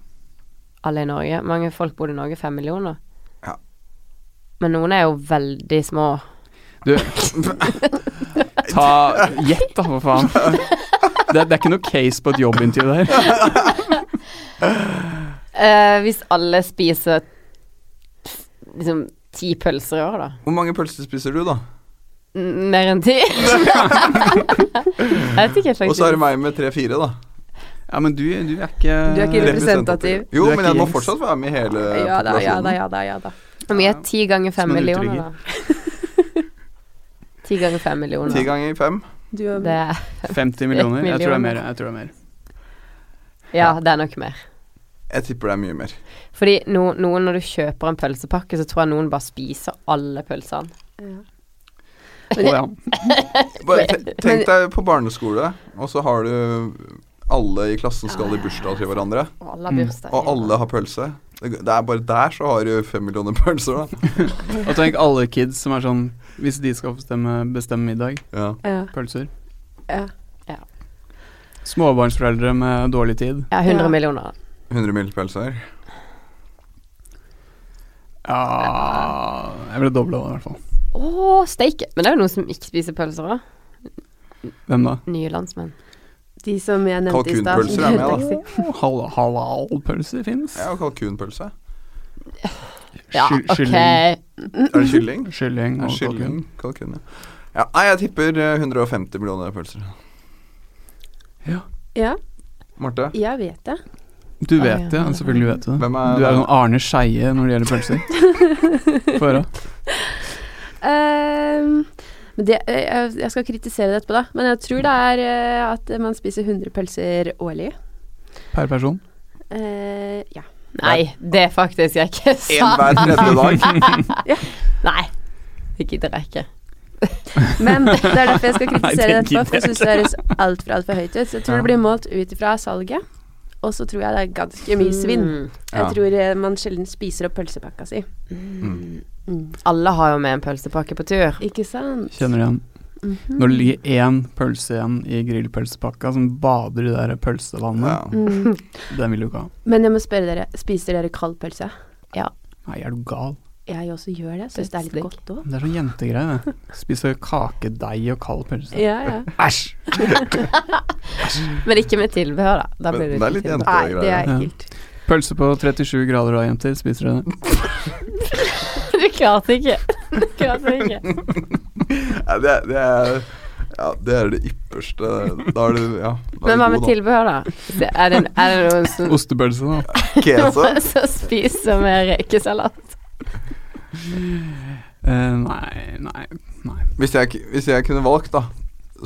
[SPEAKER 3] Alle i Norge. Mange folk bor i Norge. Fem millioner.
[SPEAKER 2] Ja.
[SPEAKER 3] Men noen er jo veldig små.
[SPEAKER 4] Du Ta Gjett, da, for faen. Det, det er ikke noe case på et jobbintervju der.
[SPEAKER 3] Eh, hvis alle spiser pff, liksom ti pølser i år, da.
[SPEAKER 2] Hvor mange pølser spiser du, da?
[SPEAKER 3] N- Mer enn ti? jeg vet ikke,
[SPEAKER 2] Og
[SPEAKER 3] faktisk.
[SPEAKER 2] så er det meg med tre-fire, da.
[SPEAKER 4] Ja, men du, du er ikke
[SPEAKER 1] Du er ikke representativ.
[SPEAKER 2] Jo,
[SPEAKER 4] Du
[SPEAKER 2] men
[SPEAKER 4] er ikke
[SPEAKER 2] jeg må
[SPEAKER 4] gjengs.
[SPEAKER 2] fortsatt være med i hele
[SPEAKER 1] Ja da, ja da,
[SPEAKER 2] populasjonen.
[SPEAKER 1] ja da. ja da.
[SPEAKER 3] Hvor mye er ti ganger fem
[SPEAKER 4] Som en
[SPEAKER 3] millioner,
[SPEAKER 4] utrygger.
[SPEAKER 3] da? Ti ganger fem
[SPEAKER 2] Ti
[SPEAKER 3] millioner.
[SPEAKER 2] ganger fem.
[SPEAKER 1] Du og
[SPEAKER 3] Det er,
[SPEAKER 4] 50 millioner? Jeg tror det er mer.
[SPEAKER 3] Millioner.
[SPEAKER 4] Jeg tror det er mer.
[SPEAKER 3] ja, det er nok mer.
[SPEAKER 2] Jeg tipper det er mye mer.
[SPEAKER 3] Fordi no, noen, når du kjøper en pølsepakke, så tror jeg noen bare spiser alle pølsene.
[SPEAKER 1] Ja.
[SPEAKER 4] Å ja.
[SPEAKER 2] Bare te- Tenk deg på barneskole, og så har du alle i klassen skal
[SPEAKER 3] Ah,
[SPEAKER 2] i bursdag til hverandre,
[SPEAKER 3] Og alle har
[SPEAKER 4] Mm.
[SPEAKER 3] bursdag.
[SPEAKER 2] og alle har pølse. Det det er bare der så har du fem millioner pølser, da.
[SPEAKER 4] Og tenk alle kids som er sånn Hvis de skal bestemme, bestemme middag,
[SPEAKER 2] Ja.
[SPEAKER 1] Ja,
[SPEAKER 4] pølser.
[SPEAKER 1] ja.
[SPEAKER 4] Småbarnsforeldre med dårlig tid.
[SPEAKER 3] Ja, 100
[SPEAKER 1] Ja.
[SPEAKER 3] millioner.
[SPEAKER 2] 100 mil pølser.
[SPEAKER 4] Ja Jeg ville dobla det, i hvert fall.
[SPEAKER 3] Å, steike! Men det er jo noen som ikke spiser pølser òg.
[SPEAKER 4] Hvem da?
[SPEAKER 3] Nye landsmenn.
[SPEAKER 1] De som jeg nevnte i stad.
[SPEAKER 2] Kalkunpølser er med, da.
[SPEAKER 1] Taxi.
[SPEAKER 4] Hal Halal-pølse fins.
[SPEAKER 2] Ja, og kalkunpølse.
[SPEAKER 3] Ja,
[SPEAKER 4] Sky-
[SPEAKER 3] ok.
[SPEAKER 4] Kylling,
[SPEAKER 3] Mm,
[SPEAKER 2] Er det kylling?
[SPEAKER 4] kylling
[SPEAKER 2] Ja,
[SPEAKER 4] og kalkun.
[SPEAKER 2] kylling. Kalkun, ja. ja. Nei, jeg tipper eh, 150 millioner pølser.
[SPEAKER 1] Ja,
[SPEAKER 2] Marte?
[SPEAKER 1] jeg vet det.
[SPEAKER 4] Du vet
[SPEAKER 3] Å, ja.
[SPEAKER 4] det, ja, selvfølgelig vet du det.
[SPEAKER 2] Hvem er-
[SPEAKER 4] Du er jo sånn Arne Skeie når det gjelder pølser. Få høre.
[SPEAKER 1] Ehm, men det, eh, jeg, jeg skal kritisere det etterpå, da. Men jeg tror det er eh, at man spiser 100 pølser årlig.
[SPEAKER 4] Per person.
[SPEAKER 1] Eh, ja.
[SPEAKER 3] Nei, det er faktisk jeg ikke
[SPEAKER 2] En
[SPEAKER 3] sa.
[SPEAKER 2] hver tredje dag.
[SPEAKER 3] Nei, det gidder jeg ikke.
[SPEAKER 1] Men det er derfor jeg skal kritisere
[SPEAKER 4] Nei,
[SPEAKER 1] det
[SPEAKER 4] det gidder
[SPEAKER 1] etterpå, for jeg syns det høres altfor altfor høyt ut. Så jeg tror
[SPEAKER 4] Ja.
[SPEAKER 1] det blir målt ut ifra salget. Og så tror jeg det er ganske mye svinn.
[SPEAKER 3] Mm.
[SPEAKER 2] Ja.
[SPEAKER 1] Jeg tror eh, man sjelden spiser opp pølsepakka si.
[SPEAKER 2] Mm.
[SPEAKER 3] Alle har jo med en pølsepakke på tur.
[SPEAKER 1] Ikke sant?
[SPEAKER 4] Kjenner du igjen.
[SPEAKER 1] Mhm.
[SPEAKER 4] Når det ligger én pølse igjen i grillpølsepakka som bader i det der
[SPEAKER 2] Ja.
[SPEAKER 4] pølsevannet,
[SPEAKER 1] Mm.
[SPEAKER 4] den vil du ikke ha.
[SPEAKER 1] Men jeg må spørre dere, spiser dere kald pølse?
[SPEAKER 4] Nei, er du gal?
[SPEAKER 1] Jeg også gjør det. Syns det er litt
[SPEAKER 3] Dødsdigg.
[SPEAKER 1] godt òg.
[SPEAKER 4] Det er sånn jentegreie, det. Spise kakedeig og kald pølse.
[SPEAKER 1] Ja, ja.
[SPEAKER 4] Æsj!
[SPEAKER 3] Men ikke med tilbehør, da. da
[SPEAKER 2] Men
[SPEAKER 3] blir det,
[SPEAKER 2] det er
[SPEAKER 3] ikke
[SPEAKER 2] litt
[SPEAKER 3] tilbehør.
[SPEAKER 2] jente-
[SPEAKER 1] Nei, det er
[SPEAKER 4] Ja.
[SPEAKER 1] ekkelt.
[SPEAKER 4] Pølse på 37 grader da, jenter. Spiser dere det?
[SPEAKER 3] Du klarte ikke. Du klarte ikke.
[SPEAKER 2] Ja, det, det er ja, det er det ypperste Da er du Ja. da
[SPEAKER 3] Men hva
[SPEAKER 2] er du god,
[SPEAKER 3] med
[SPEAKER 2] da.
[SPEAKER 3] tilbehør, da? Det- Er det, er det noen som,
[SPEAKER 4] Ostepølse, da.
[SPEAKER 2] Queso?
[SPEAKER 3] som spiser med rekesalat?
[SPEAKER 4] Eh, nei, nei, nei.
[SPEAKER 2] Hvis jeg, k- hvis jeg kunne valgt, da,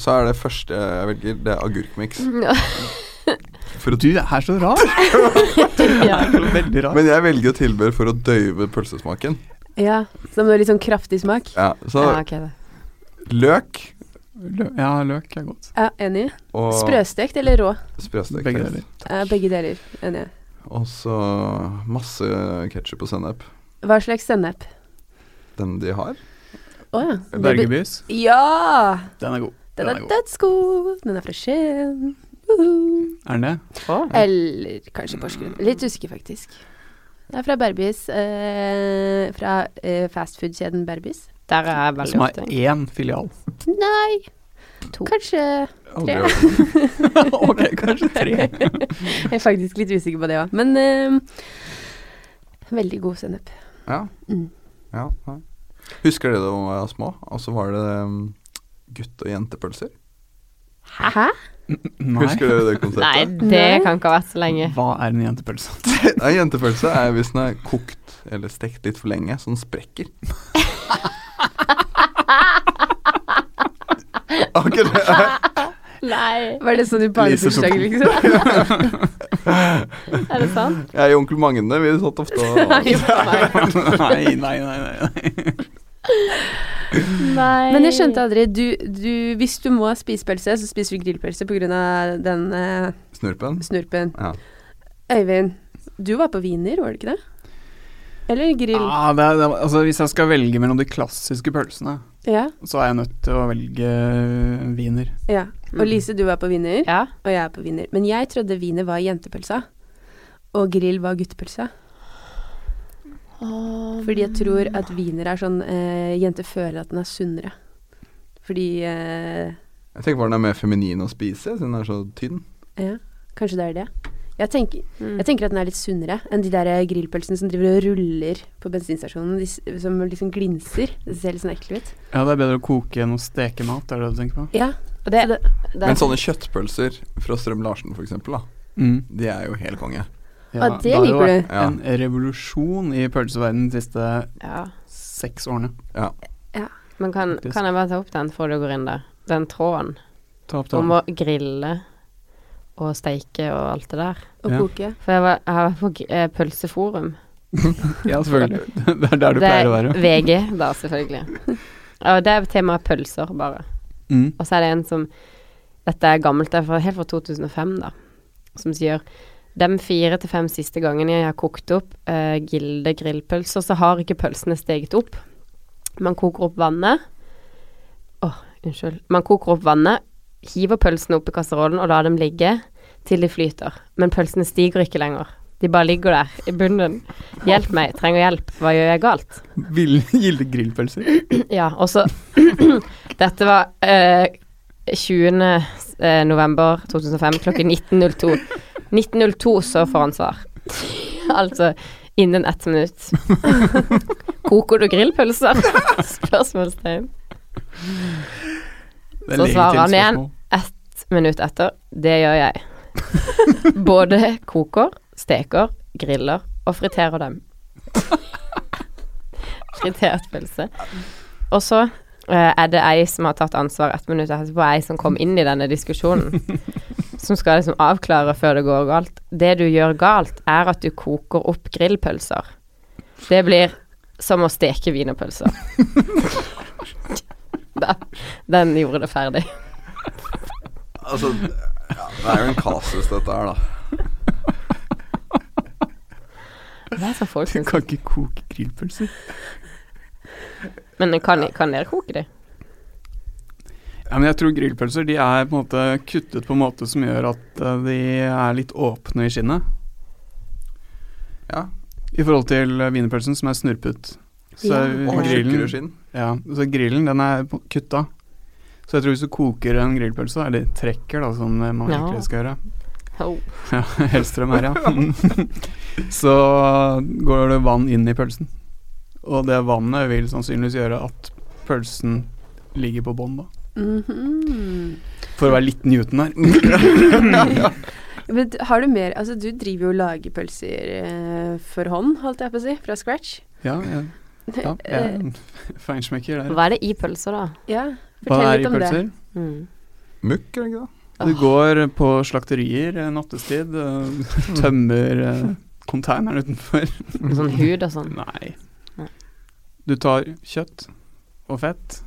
[SPEAKER 2] så er det første jeg velger, det er agurkmiks.
[SPEAKER 3] Mm.
[SPEAKER 1] Mm.
[SPEAKER 2] For å
[SPEAKER 4] Du er så rar!
[SPEAKER 3] Ja.
[SPEAKER 4] Du er Veldig rar.
[SPEAKER 2] Men jeg velger jo tilbehør for å døyve pølsesmaken.
[SPEAKER 1] Ja, Som har litt sånn kraftig smak.
[SPEAKER 2] Ja, så
[SPEAKER 3] Ja, ok, da.
[SPEAKER 2] løk
[SPEAKER 4] Lø ja, løk er godt.
[SPEAKER 1] Ja, enig.
[SPEAKER 2] og
[SPEAKER 1] Sprøstekt eller rå?
[SPEAKER 2] sprøstekt.
[SPEAKER 4] Begge deler.
[SPEAKER 1] Ja, begge deler. Enig.
[SPEAKER 2] Og så masse ketsjup og sennep.
[SPEAKER 1] Hva slags sennep?
[SPEAKER 2] Den de har.
[SPEAKER 1] Å ja. Det be-
[SPEAKER 4] Bergebys.
[SPEAKER 1] Ja!
[SPEAKER 4] Den er god.
[SPEAKER 1] Den er
[SPEAKER 4] god.
[SPEAKER 1] dødsgod. Den er fra Skien. Uhu.
[SPEAKER 4] Er den det?
[SPEAKER 3] Å.
[SPEAKER 1] Eller kanskje Porsgrunn. Litt usikker, faktisk. Det er fra Berbis. Eh, fra eh, fastfood-kjeden Berbis.
[SPEAKER 3] Der er jeg veldig
[SPEAKER 4] Som har
[SPEAKER 3] ofte.
[SPEAKER 4] én filial.
[SPEAKER 1] Nei
[SPEAKER 3] To.
[SPEAKER 1] Kanskje
[SPEAKER 2] Aldri
[SPEAKER 1] Tre.
[SPEAKER 2] hørt om.
[SPEAKER 4] ok, kanskje tre.
[SPEAKER 1] Jeg er faktisk litt usikker på det òg. Men eh, veldig god sennep.
[SPEAKER 2] Ja.
[SPEAKER 1] Mm.
[SPEAKER 2] Ja, ja. Husker dere da vi var små, og så var det um, gutt- og jentepølser?
[SPEAKER 1] Hæ?
[SPEAKER 4] Nei.
[SPEAKER 2] Husker dere det
[SPEAKER 3] Nei,
[SPEAKER 2] konseptet?
[SPEAKER 3] det kan ikke ha vært så lenge.
[SPEAKER 4] Hva er en jentepølse?
[SPEAKER 2] Nei, jentepølse er hvis den er kokt eller stekt litt for lenge, så den sprekker. Akkurat det.
[SPEAKER 3] Nei,
[SPEAKER 1] Var det sånn i
[SPEAKER 2] Lyser
[SPEAKER 1] barnebursdag,
[SPEAKER 2] soppen.
[SPEAKER 1] liksom?
[SPEAKER 3] liksom. er det sant?
[SPEAKER 2] Jeg og onkel Magne, vi satt ofte og
[SPEAKER 4] nei, nei, nei, nei.
[SPEAKER 3] Nei.
[SPEAKER 1] Men jeg skjønte aldri du, du, Hvis du må spise pølse, så spiser du grillpølse pga. den eh,
[SPEAKER 2] Snurpen.
[SPEAKER 1] snurpen.
[SPEAKER 2] Ja.
[SPEAKER 1] Øyvind, du var på wiener, var det ikke det? Eller grill?
[SPEAKER 4] Ah, det er, det er, altså, hvis jeg skal velge mellom de klassiske pølsene,
[SPEAKER 1] Ja.
[SPEAKER 4] så er jeg nødt til å velge eh, wiener.
[SPEAKER 1] ja. Og Lise, du var på wiener,
[SPEAKER 3] Ja.
[SPEAKER 1] og jeg er på wiener. Men jeg trodde wiener var jentepølsa, og grill var guttepølsa. Fordi jeg tror at wiener er sånn eh, Jenter føler at den er sunnere. Fordi eh,
[SPEAKER 2] Jeg tenker på den er mer feminin å spise, siden den er så tynn.
[SPEAKER 1] Ja, kanskje det er det. Jeg tenker,
[SPEAKER 3] Mm.
[SPEAKER 1] jeg tenker at den er litt sunnere enn de der grillpølsene som driver og ruller på bensinstasjonen, de, s- som liksom glinser. Det ser litt sånn ekle ut.
[SPEAKER 4] Ja, det er bedre å koke enn å steke mat, er det det du tenker på?
[SPEAKER 1] Ja,
[SPEAKER 3] Og det,
[SPEAKER 1] så det,
[SPEAKER 3] det,
[SPEAKER 2] Men sånne kjøttpølser fra Strøm-Larsen f.eks., da,
[SPEAKER 4] Mm.
[SPEAKER 2] de er jo helt konge.
[SPEAKER 4] Ja,
[SPEAKER 1] Å, det
[SPEAKER 4] har jo
[SPEAKER 1] liker du.
[SPEAKER 4] vært En revolusjon i pølseverdenen de siste
[SPEAKER 3] ja.
[SPEAKER 4] seks årene.
[SPEAKER 3] Men kan,
[SPEAKER 4] Faktisk.
[SPEAKER 3] kan jeg bare ta opp den før du går inn der? Den tråden
[SPEAKER 4] Ta opp
[SPEAKER 3] om
[SPEAKER 4] talen.
[SPEAKER 3] å grille og steike og alt det der.
[SPEAKER 1] å
[SPEAKER 4] Ja.
[SPEAKER 1] koke.
[SPEAKER 3] For jeg, var, jeg har vært på gr- eh, Pølseforum.
[SPEAKER 4] Ja, selvfølgelig. Det er der du
[SPEAKER 3] det
[SPEAKER 4] pleier å være.
[SPEAKER 3] VG, da, selvfølgelig. Og det er temaet pølser, bare.
[SPEAKER 4] Mm.
[SPEAKER 3] Og så er det en som Dette er gammelt, det er fra, helt fra 2005, da. Som sier de fire til fem siste gangene jeg har kokt opp eh, Gilde grillpølser, så har ikke pølsene steget opp. Man koker opp vannet Å, unnskyld. Man koker opp vannet, hiver pølsene opp i kasserollen og lar dem ligge til de flyter. Men pølsene stiger ikke lenger. De bare ligger der i bunnen. Hjelp meg, trenger hjelp. Hva gjør jeg galt?
[SPEAKER 4] Vil- Gilde grillpølser.
[SPEAKER 3] Ja, og så Dette var eh, 20. eh, november 2005 klokken 19.02. 19.02 så får han svar. altså innen ett minutt. Koker du grillpølser? Spørsmålstegn.
[SPEAKER 4] Det er
[SPEAKER 3] Så svarer
[SPEAKER 4] legitimt
[SPEAKER 3] han igjen.
[SPEAKER 4] spørsmål.
[SPEAKER 3] Ett minutt etter. Det gjør jeg. Både koker, steker, griller og friterer dem. Fritert pølse. Og så eh, er det ei som har tatt ansvar ett minutt etterpå, ei som kom inn i denne diskusjonen, som skal liksom avklare før det går galt. Det du gjør galt, er at du koker opp grillpølser. Det blir som å steke wienerpølser. Den, den gjorde det ferdig.
[SPEAKER 2] Altså, ja, det er jo en kasus, dette her, da.
[SPEAKER 3] Det er så folk
[SPEAKER 4] Du
[SPEAKER 3] syns
[SPEAKER 4] kan ikke koke grillpølser.
[SPEAKER 3] Men kan, kan dere koke de?
[SPEAKER 4] Ja, men jeg tror grillpølser de er på en måte kuttet på en måte som gjør at eh, de er litt åpne i skinnet.
[SPEAKER 2] Ja.
[SPEAKER 4] I forhold til eh, wienerpølsen som er snurpet. Så,
[SPEAKER 1] Ja.
[SPEAKER 2] Og har tjukkere
[SPEAKER 4] grillen,
[SPEAKER 2] skinn.
[SPEAKER 4] ja, så grillen den er på- kutta. Så jeg tror hvis du koker en grillpølse, eller trekker da, som eh, man
[SPEAKER 3] Ja.
[SPEAKER 4] egentlig skal gjøre
[SPEAKER 3] Oh.
[SPEAKER 4] Ja, Hellstrøm her, ja. så går det vann inn i pølsen. Og det vannet vil sannsynligvis gjøre at pølsen ligger på bånn, da.
[SPEAKER 1] Mhm.
[SPEAKER 4] For å være litt Newton her.
[SPEAKER 1] Men d- har du mer Altså, du driver jo og lager pølser eh, for hånd, holdt jeg på å si, fra scratch.
[SPEAKER 4] Ja, ja. ja jeg er
[SPEAKER 1] Eh,
[SPEAKER 4] en feinschmecker der.
[SPEAKER 3] Hva er det i pølser, da?
[SPEAKER 1] ja.
[SPEAKER 4] Hva
[SPEAKER 1] Fortell
[SPEAKER 4] er
[SPEAKER 1] litt
[SPEAKER 4] i
[SPEAKER 1] om det.
[SPEAKER 4] pølser?
[SPEAKER 3] Mm.
[SPEAKER 2] Mukk, er det ikke det?
[SPEAKER 4] Du går på slakterier eh, nattestid, eh, tømmer eh, containeren utenfor.
[SPEAKER 3] Sånn hud og sånn.
[SPEAKER 4] Nei.
[SPEAKER 3] Nei.
[SPEAKER 4] Du tar kjøtt og fett.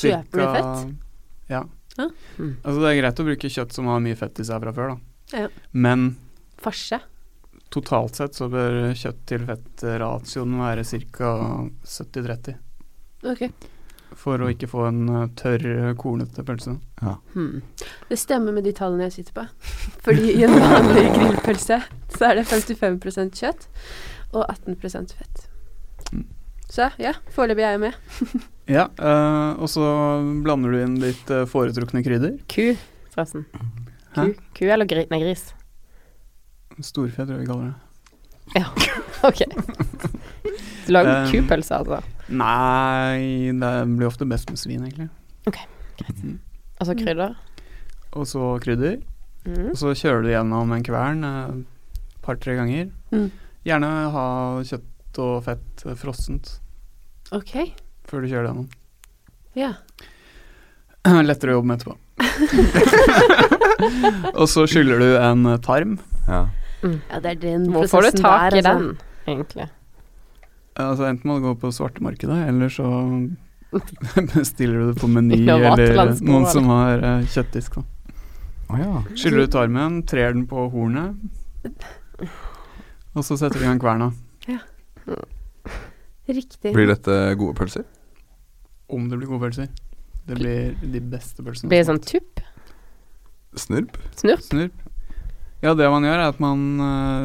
[SPEAKER 1] Kjøper du
[SPEAKER 4] Cirka-
[SPEAKER 1] fett?
[SPEAKER 4] Ja.
[SPEAKER 1] Ja.
[SPEAKER 3] Mm.
[SPEAKER 4] Altså det er greit å bruke kjøtt som har mye fett i seg fra før, da.
[SPEAKER 1] Ja.
[SPEAKER 4] Men
[SPEAKER 1] Farse?
[SPEAKER 4] totalt sett så bør kjøtt til fett-ratioen være ca. 70-30.
[SPEAKER 1] Ok.
[SPEAKER 4] For å ikke få en eh, tørr, eh, kornete pølse.
[SPEAKER 3] Hmm.
[SPEAKER 1] Det stemmer med de tallene jeg sitter på. Fordi i en vanlig grillpølse så er det 55 kjøtt og 18 fett.
[SPEAKER 4] Mm.
[SPEAKER 1] Så ja, foreløpig er jeg med.
[SPEAKER 4] Ja, eh, og så blander du inn ditt eh, foretrukne krydder.
[SPEAKER 3] Ku, forresten. Ku,
[SPEAKER 4] Hæ?
[SPEAKER 3] Ku eller gris? Nei, gris.
[SPEAKER 4] Storfe, tror jeg vi kaller det.
[SPEAKER 3] Ok. Du lager
[SPEAKER 4] Um,
[SPEAKER 3] kupølse, altså?
[SPEAKER 4] Nei, det blir ofte best med svin, egentlig.
[SPEAKER 3] Ok,
[SPEAKER 4] Mm.
[SPEAKER 3] Altså krydder?
[SPEAKER 4] Og så krydder.
[SPEAKER 3] Mm.
[SPEAKER 4] Og så kjøler du gjennom en kvern et par-tre ganger.
[SPEAKER 1] Mm.
[SPEAKER 4] Gjerne ha kjøtt og fett eh, frossent
[SPEAKER 1] Ok,
[SPEAKER 4] før du kjører det gjennom.
[SPEAKER 1] ja.
[SPEAKER 4] Lettere å jobbe med etterpå. og så skyller du en eh, tarm.
[SPEAKER 2] Ja.
[SPEAKER 1] ja det er den
[SPEAKER 3] Hvor får du
[SPEAKER 1] prosessen
[SPEAKER 3] tak i
[SPEAKER 1] der, altså.
[SPEAKER 3] den, sånn, egentlig?
[SPEAKER 4] Altså Enten må du gå på svartemarkedet, eller så bestiller du det på Meny
[SPEAKER 3] Ja,
[SPEAKER 4] eller
[SPEAKER 3] vaterlandsko,
[SPEAKER 4] noen
[SPEAKER 3] eller?
[SPEAKER 4] som har eh, kjøttdisk. Da.
[SPEAKER 2] Å ja.
[SPEAKER 4] Skyller du tarmen, trer den på hornet, og så setter du i gang kverna.
[SPEAKER 1] Riktig.
[SPEAKER 2] Blir dette gode pølser?
[SPEAKER 4] Om det blir gode pølser. Det blir de beste pølsene.
[SPEAKER 3] Blir det sånn tupp?
[SPEAKER 2] Snurp?
[SPEAKER 3] Snurp?
[SPEAKER 4] Snurp. Ja, det man gjør er at man eh,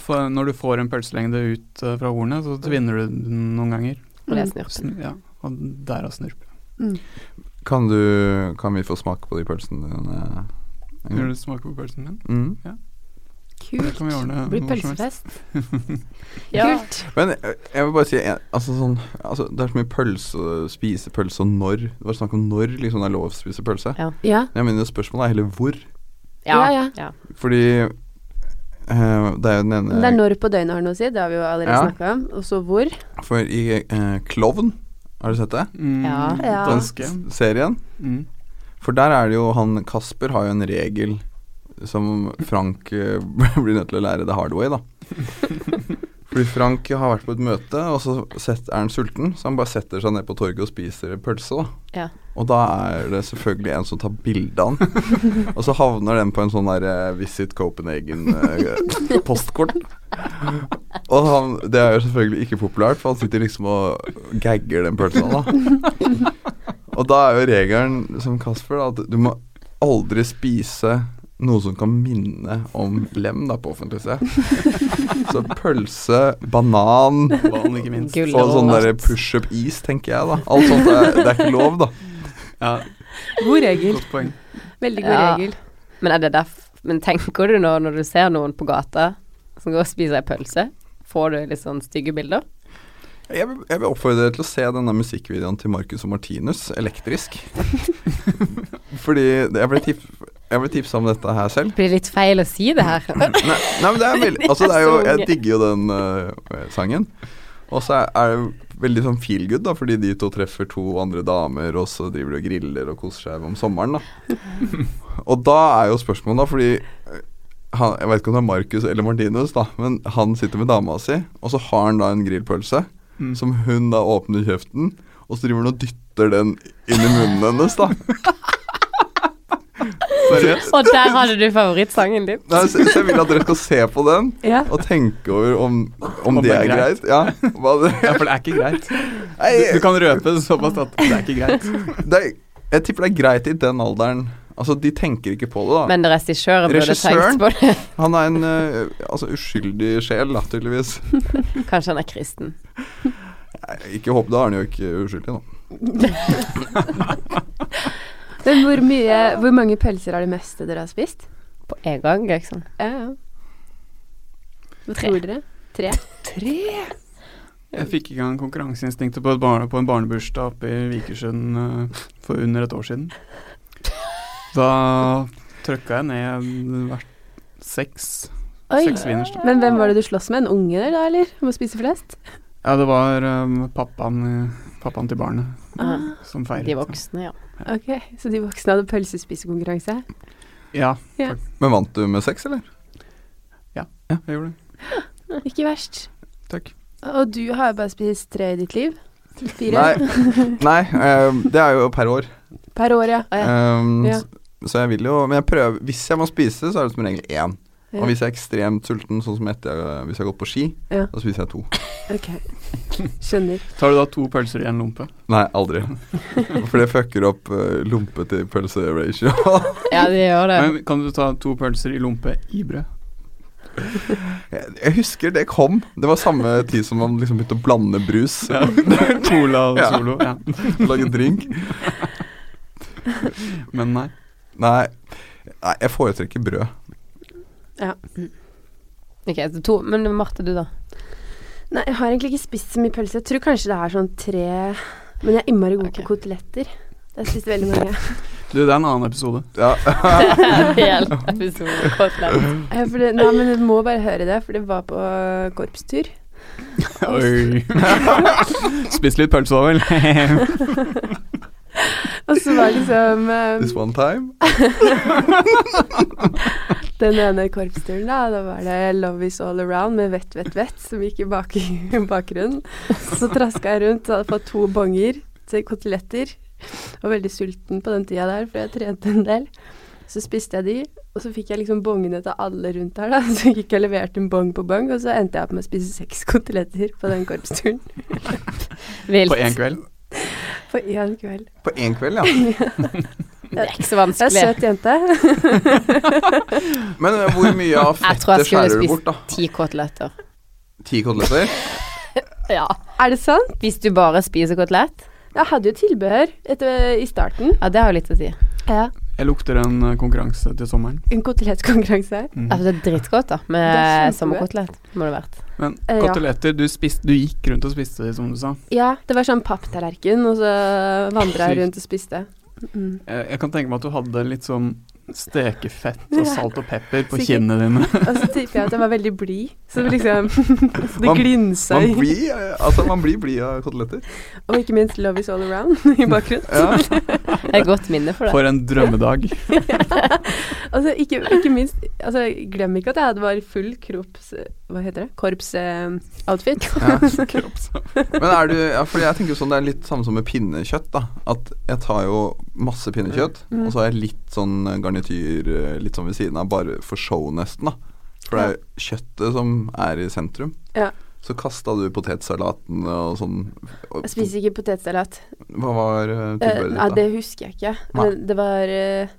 [SPEAKER 4] får, Når du får en pølselengde ut eh, fra hornet, så tvinner du den noen ganger.
[SPEAKER 3] Og det er
[SPEAKER 1] Mm.
[SPEAKER 3] snurp.
[SPEAKER 4] Snu, ja, og derav snurp.
[SPEAKER 1] Mm.
[SPEAKER 2] Kan, du, kan vi få smake på de pølsene dine? en
[SPEAKER 4] Vil
[SPEAKER 2] gang?
[SPEAKER 4] du smake på pølsen min?
[SPEAKER 2] Mm.
[SPEAKER 4] Det kan vi
[SPEAKER 1] Kult.
[SPEAKER 4] ordne
[SPEAKER 1] Blir
[SPEAKER 4] når som helst.
[SPEAKER 1] pølsefest.
[SPEAKER 3] Ja.
[SPEAKER 1] Kult.
[SPEAKER 2] Men jeg, jeg vil bare si en- altså, sånn, altså, Det er så mye pølse, spise pølse og når. Det var snakk om når liksom, det er lov å spise pølse.
[SPEAKER 1] Ja.
[SPEAKER 2] Jeg mener spørsmålet er heller hvor.
[SPEAKER 3] Ja.
[SPEAKER 1] Ja,
[SPEAKER 3] ja.
[SPEAKER 2] Fordi eh, det er jo den ene
[SPEAKER 1] Men det er når på døgnet har noe å si, det har vi jo
[SPEAKER 2] Ja.
[SPEAKER 1] allerede snakket snakka om. Og så hvor.
[SPEAKER 2] For i eh, Klovn, har du sett det?
[SPEAKER 4] Mm,
[SPEAKER 3] Ja.
[SPEAKER 1] Ja.
[SPEAKER 4] Danske.
[SPEAKER 2] Serien.
[SPEAKER 4] Mm.
[SPEAKER 2] For der er det jo han Kasper har jo en regel som Frank eh, blir nødt til å lære the hard way, da. Fordi Frank har vært på et møte, og så sett, er han sulten, så han bare setter seg ned på torget og spiser pølse. da.
[SPEAKER 3] Ja.
[SPEAKER 2] Og da er det selvfølgelig en som tar bilde av han. og så havner den på en sånn der eh, Visit Copenhagen-postkort. og han, det er jo selvfølgelig ikke populært, for han sitter liksom og gagger den pølsa, da. og da er jo regelen som Kasper, da, at du må aldri spise noe som kan minne om lem da, på offentlig sted. Så pølse, banan
[SPEAKER 4] Banen, ikke minst.
[SPEAKER 3] Gull
[SPEAKER 2] og sånn
[SPEAKER 3] og
[SPEAKER 2] derre pushup is, tenker jeg, da. Alt sånt er, det er ikke lov, da.
[SPEAKER 4] Ja,
[SPEAKER 1] God regel.
[SPEAKER 4] godt poeng.
[SPEAKER 1] Veldig god
[SPEAKER 3] Ja.
[SPEAKER 1] regel.
[SPEAKER 3] Men, er det derf men tenker du nå, når du ser noen på gata som går og spiser ei pølse, får du litt sånn stygge bilder?
[SPEAKER 2] Jeg vil, jeg vil oppfordre dere til å se denne musikkvideoen til Marcus og Martinus, elektrisk. Fordi det- jeg ble, tip, jeg ble tipsa om dette her selv.
[SPEAKER 3] Blir det litt feil å si det her?
[SPEAKER 2] Nei, nei men det er veldig Altså, det er jo Jeg digger jo den øh, sangen. Og så er- er det veldig sånn feel good, da, fordi de to treffer to andre damer, og så driver de og griller og koser seg om sommeren, da. Og da er jo spørsmålet, da, fordi øh, han, Jeg vet ikke om det er Marcus eller Martinus, da, men han sitter med dama si, og så har han da en grillpølse
[SPEAKER 4] Mm.
[SPEAKER 2] som hun da åpner kjeften, og så driver hun og dytter den inn i munnen hennes, da. Seriøst?
[SPEAKER 3] Og der hadde du favorittsangen din.
[SPEAKER 2] Nei, så, så jeg vil at dere skal se på den
[SPEAKER 1] Ja.
[SPEAKER 2] og tenke over om, om,
[SPEAKER 4] Om
[SPEAKER 2] det
[SPEAKER 4] det
[SPEAKER 2] er
[SPEAKER 4] er
[SPEAKER 2] greit. Ja, hva det,
[SPEAKER 4] Ja, for det er ikke greit.
[SPEAKER 2] nei,
[SPEAKER 4] Du, du kan røpe såpass at det er ikke greit.
[SPEAKER 2] det er, jeg tipper det er greit i den alderen. Altså, de tenker ikke på det, da.
[SPEAKER 3] Men regissøren burde
[SPEAKER 2] Regissøren?
[SPEAKER 3] tenkt på det.
[SPEAKER 2] Han er en eh, altså, uskyldig sjel, da, tydeligvis.
[SPEAKER 3] Kanskje han er kristen.
[SPEAKER 2] Nei, Ikke håp, da er han jo ikke uskyldig, da.
[SPEAKER 1] Men hvor, mye, hvor mange pølser er det meste dere har spist?
[SPEAKER 3] På en gang, liksom.
[SPEAKER 1] Ja, ja. Hva
[SPEAKER 3] Tre.
[SPEAKER 1] tror dere? Tre? Tre?
[SPEAKER 4] Jeg fikk i gang konkurranseinstinktet på, et barne, på en barnebursdag oppe i Vikersund eh, for under et år siden. Da trøkka jeg ned hvert seks
[SPEAKER 1] Oi.
[SPEAKER 4] Seks wieners, da.
[SPEAKER 1] Men hvem var det du sloss med? En unge der, da, eller? Om å spise flest?
[SPEAKER 4] Ja, det var eh, pappaen, pappaen til barnet
[SPEAKER 3] Ah,
[SPEAKER 4] som feiret.
[SPEAKER 3] De voksne, ja.
[SPEAKER 1] Ah, Ok, så de voksne hadde pølsespisekonkurranse?
[SPEAKER 4] Ja,
[SPEAKER 2] Men vant du med sex, eller?
[SPEAKER 4] jeg gjorde det.
[SPEAKER 1] Ikke verst.
[SPEAKER 4] Takk.
[SPEAKER 1] Og du har jo bare spist tre i ditt liv? Fire?
[SPEAKER 2] Nei. Nei eh, det er jo per år.
[SPEAKER 1] Per år, ja.
[SPEAKER 3] Ja.
[SPEAKER 2] Um,
[SPEAKER 1] Ja.
[SPEAKER 2] s- Så jeg vil jo Men jeg prøver Hvis jeg må spise, så er det som regel én.
[SPEAKER 1] Ja.
[SPEAKER 2] Og hvis jeg er ekstremt sulten, sånn som etter jeg- hvis jeg har gått på ski,
[SPEAKER 1] Ja.
[SPEAKER 2] da spiser jeg to.
[SPEAKER 1] Ok. Skjønner.
[SPEAKER 4] Tar du da to pølser i en lompe?
[SPEAKER 2] Nei, aldri. For det fucker opp eh, lompe til pølse-ratio.
[SPEAKER 3] Ja, de gjør det.
[SPEAKER 4] Men kan du ta to pølser i lompe i brød?
[SPEAKER 2] jeg jeg husker det kom. Det var samme tid som man liksom begynte å blande brus.
[SPEAKER 4] Ja. Cola og
[SPEAKER 2] Ja.
[SPEAKER 4] Solo. Ja.
[SPEAKER 2] Lage drink.
[SPEAKER 4] Men nei.
[SPEAKER 2] Nei, nei, jeg foretrekker brød.
[SPEAKER 3] Ok, så to. Men Marte, du da?
[SPEAKER 1] Nei, jeg har egentlig ikke spist så mye pølse. Jeg tror kanskje det er sånn tre Men jeg er innmari god
[SPEAKER 3] Ok.
[SPEAKER 1] på koteletter. Jeg har spist veldig mange.
[SPEAKER 4] Du, det er en annen episode.
[SPEAKER 2] Ja.
[SPEAKER 3] Helt episode koteletter.
[SPEAKER 1] Eh, For det, nei, men du må bare høre det, for det var på korpstur.
[SPEAKER 4] Oi. Spis litt pølse da vel.
[SPEAKER 1] Og så var liksom eh,
[SPEAKER 2] This one time.
[SPEAKER 1] den ene korpsturen, da. Da var det 'Love Is All Around' med Vett, Vett, Vett som gikk i bak bakgrunnen. Så traska jeg rundt og hadde fått to bonger til koteletter. Og veldig sulten på den tida der, for jeg trente en del. Så spiste jeg de, og så fikk jeg liksom bongene til alle rundt her, da. Så gikk jeg og leverte en bong på bong, og så endte jeg opp med å spise seks koteletter på den korpsturen.
[SPEAKER 4] På én
[SPEAKER 3] Vilt.
[SPEAKER 4] kveld.
[SPEAKER 1] På én kveld.
[SPEAKER 2] På én kveld, ja.
[SPEAKER 3] Det er ikke så
[SPEAKER 1] Jeg er
[SPEAKER 3] vanskelig.
[SPEAKER 1] søt jente.
[SPEAKER 2] Men eh, hvor mye av
[SPEAKER 3] Jeg tror
[SPEAKER 2] fettet
[SPEAKER 3] jeg skulle
[SPEAKER 2] skjærer du bort,
[SPEAKER 3] spist
[SPEAKER 2] da?
[SPEAKER 3] ti koteletter.
[SPEAKER 2] Ti koteletter?
[SPEAKER 3] Ja.
[SPEAKER 1] Er det sant?
[SPEAKER 3] Hvis du bare spiser kotelett?
[SPEAKER 1] Jeg hadde jo tilbehør etter, i starten.
[SPEAKER 3] Ja, det har jo litt å si.
[SPEAKER 1] Ja.
[SPEAKER 4] Jeg lukter en eh, konkurranse til sommeren. Mhm.
[SPEAKER 1] En kotelettkonkurranse.
[SPEAKER 3] Ja, for det er dritgodt, da.
[SPEAKER 1] Det er
[SPEAKER 3] Med
[SPEAKER 1] kjempegodt.
[SPEAKER 3] sommerkotelett. Må det ha vært.
[SPEAKER 4] Men
[SPEAKER 1] Eh, ja.
[SPEAKER 4] koteletter, du, spiste- du gikk rundt og spiste de, som du sa.
[SPEAKER 1] Ja, det var sånn papptallerken, og så vandra jeg rundt og spiste. Mm.
[SPEAKER 4] Jeg, jeg kan tenke meg at du hadde litt sånn stekefett
[SPEAKER 1] Ja.
[SPEAKER 4] og salt og pepper på
[SPEAKER 1] Sikkert.
[SPEAKER 4] kinnene dine.
[SPEAKER 1] Og så tipper jeg at jeg var veldig blid, så liksom så Det
[SPEAKER 2] Man-
[SPEAKER 1] glinsa
[SPEAKER 2] Man
[SPEAKER 1] i
[SPEAKER 2] blir, eh, altså, man blir blid av koteletter.
[SPEAKER 1] Og ikke minst 'Love Is All Around' i bakgrunnen.
[SPEAKER 2] Ja.
[SPEAKER 3] Det er et godt minne for det.
[SPEAKER 4] For en drømmedag.
[SPEAKER 1] Altså, ikke, ikke minst altså, Glem ikke at jeg hadde var full kropps hva heter det? eh, Korpsoutfit.
[SPEAKER 2] Ja. Men er du ja, fordi jeg tenker jo sånn Det er litt samme som med pinnekjøtt. da At jeg tar jo masse pinnekjøtt,
[SPEAKER 1] Mm.
[SPEAKER 2] og så har jeg litt sånn garnityr eh, litt sånn ved siden av, bare for show, nesten. da For det er jo kjøttet som er i sentrum.
[SPEAKER 1] Ja.
[SPEAKER 2] Så kasta du potetsalaten og sånn. Og-
[SPEAKER 1] jeg spiser ikke potetsalat.
[SPEAKER 2] Hva var eh,
[SPEAKER 1] Eh,
[SPEAKER 2] tilbudet
[SPEAKER 1] nei,
[SPEAKER 2] ditt, da?
[SPEAKER 1] det husker jeg ikke.
[SPEAKER 2] Nei.
[SPEAKER 1] Men det var eh,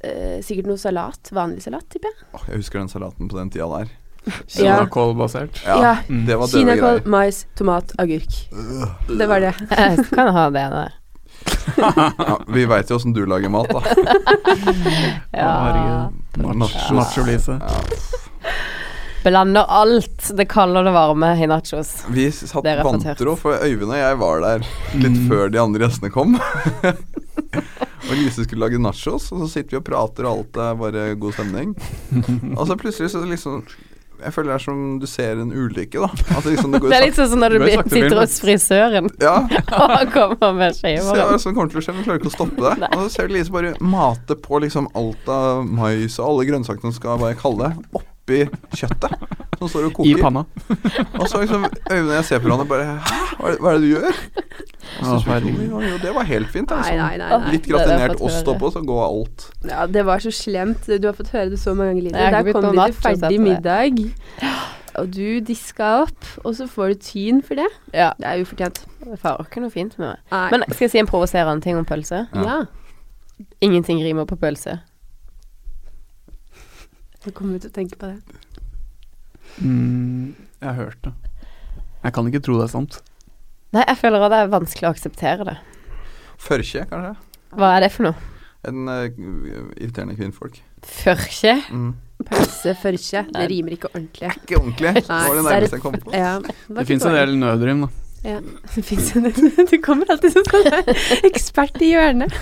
[SPEAKER 1] eh, sikkert noe salat. Vanlig salat, tipper jeg.
[SPEAKER 2] Åh, jeg husker den salaten på den tida der.
[SPEAKER 1] Ja.
[SPEAKER 4] Kinakålbasert.
[SPEAKER 2] Ja,
[SPEAKER 1] Ja.
[SPEAKER 4] Mm.
[SPEAKER 2] Det var døde
[SPEAKER 1] Kinakål,
[SPEAKER 2] greier.
[SPEAKER 1] mais, tomat, agurk. Det var det.
[SPEAKER 3] Jeg kan ha det der.
[SPEAKER 2] Ja, vi veit jo åssen du lager mat, da.
[SPEAKER 3] Ja.
[SPEAKER 4] herregud. Nachos.
[SPEAKER 2] Ja.
[SPEAKER 4] Nacholise.
[SPEAKER 2] Ja.
[SPEAKER 3] Blander alt det kalde og det varme i nachos.
[SPEAKER 2] Vi satt
[SPEAKER 3] Dere er for
[SPEAKER 2] vantro, for Øyvind og jeg var der litt før de andre gjestene kom. og Lise skulle lage nachos, og så sitter vi og prater, og alt er bare god stemning. Og så plutselig så liksom Jeg føler det er som du ser en ulykke, da. Altså liksom det går
[SPEAKER 3] Det er litt sånn som når du
[SPEAKER 4] Det er sakte
[SPEAKER 3] sitter
[SPEAKER 4] film.
[SPEAKER 3] hos frisøren
[SPEAKER 2] sakte- Ja.
[SPEAKER 3] og han kommer med
[SPEAKER 2] Se hva
[SPEAKER 3] skeiver.
[SPEAKER 2] som sånn kommer til å skje, men klarer ikke å stoppe det. Og så ser du Lise bare mate på liksom alt av mais og alle grønnsakene skal bare kalle det, oppi kjøttet. Som står og
[SPEAKER 4] I
[SPEAKER 2] koker.
[SPEAKER 4] panna.
[SPEAKER 2] Og så liksom Øyvind og jeg ser på hverandre bare Hæ, hva er, hva er det du gjør? Og så
[SPEAKER 4] Å,
[SPEAKER 2] spør vi,
[SPEAKER 4] herregud.
[SPEAKER 2] jo, jo, det var helt fint. da,
[SPEAKER 1] Nei,
[SPEAKER 2] Liksom.
[SPEAKER 1] nei, nei. nei.
[SPEAKER 2] Litt
[SPEAKER 3] det er det jeg har
[SPEAKER 2] gratinert
[SPEAKER 3] fått
[SPEAKER 2] ost
[SPEAKER 3] høre.
[SPEAKER 2] oppå, så går alt.
[SPEAKER 1] Ja, det var så slemt. Du har fått høre det så mange ganger.
[SPEAKER 3] Jeg har
[SPEAKER 1] Line.
[SPEAKER 3] ikke
[SPEAKER 1] Der
[SPEAKER 3] blitt
[SPEAKER 1] kom
[SPEAKER 3] noe
[SPEAKER 1] de til
[SPEAKER 3] nachos etter
[SPEAKER 1] ferdig
[SPEAKER 3] det.
[SPEAKER 1] middag, og du diska opp, og så får du tyn for det.
[SPEAKER 3] Ja.
[SPEAKER 1] Det er ufortjent.
[SPEAKER 3] Det farer ikke noe fint med meg.
[SPEAKER 1] Nei.
[SPEAKER 3] Men skal jeg si en provoserende ting om pølse?
[SPEAKER 2] Ja.
[SPEAKER 1] ja.
[SPEAKER 3] Ingenting rimer på pølse.
[SPEAKER 1] Jeg kommer til å tenke på det.
[SPEAKER 4] Mm, jeg har hørt det. Jeg kan ikke tro det er sant.
[SPEAKER 3] Nei, jeg føler at det er vanskelig å akseptere det.
[SPEAKER 2] Førkje, kanskje?
[SPEAKER 3] Hva er det for noe?
[SPEAKER 2] En eh, irriterende kvinnfolk.
[SPEAKER 3] Førkje?
[SPEAKER 2] Mm.
[SPEAKER 1] Pølse, førkje.
[SPEAKER 3] Nei.
[SPEAKER 1] Det rimer ikke ordentlig.
[SPEAKER 2] Ikke ordentlig. Det
[SPEAKER 1] Nei,
[SPEAKER 2] var det
[SPEAKER 1] det er-
[SPEAKER 2] nærmeste jeg kom på.
[SPEAKER 1] Ja,
[SPEAKER 4] Det fins en del nødrim, da.
[SPEAKER 1] Ja, det finnes en del. Du kommer alltid som sånn ekspert i hjørnet.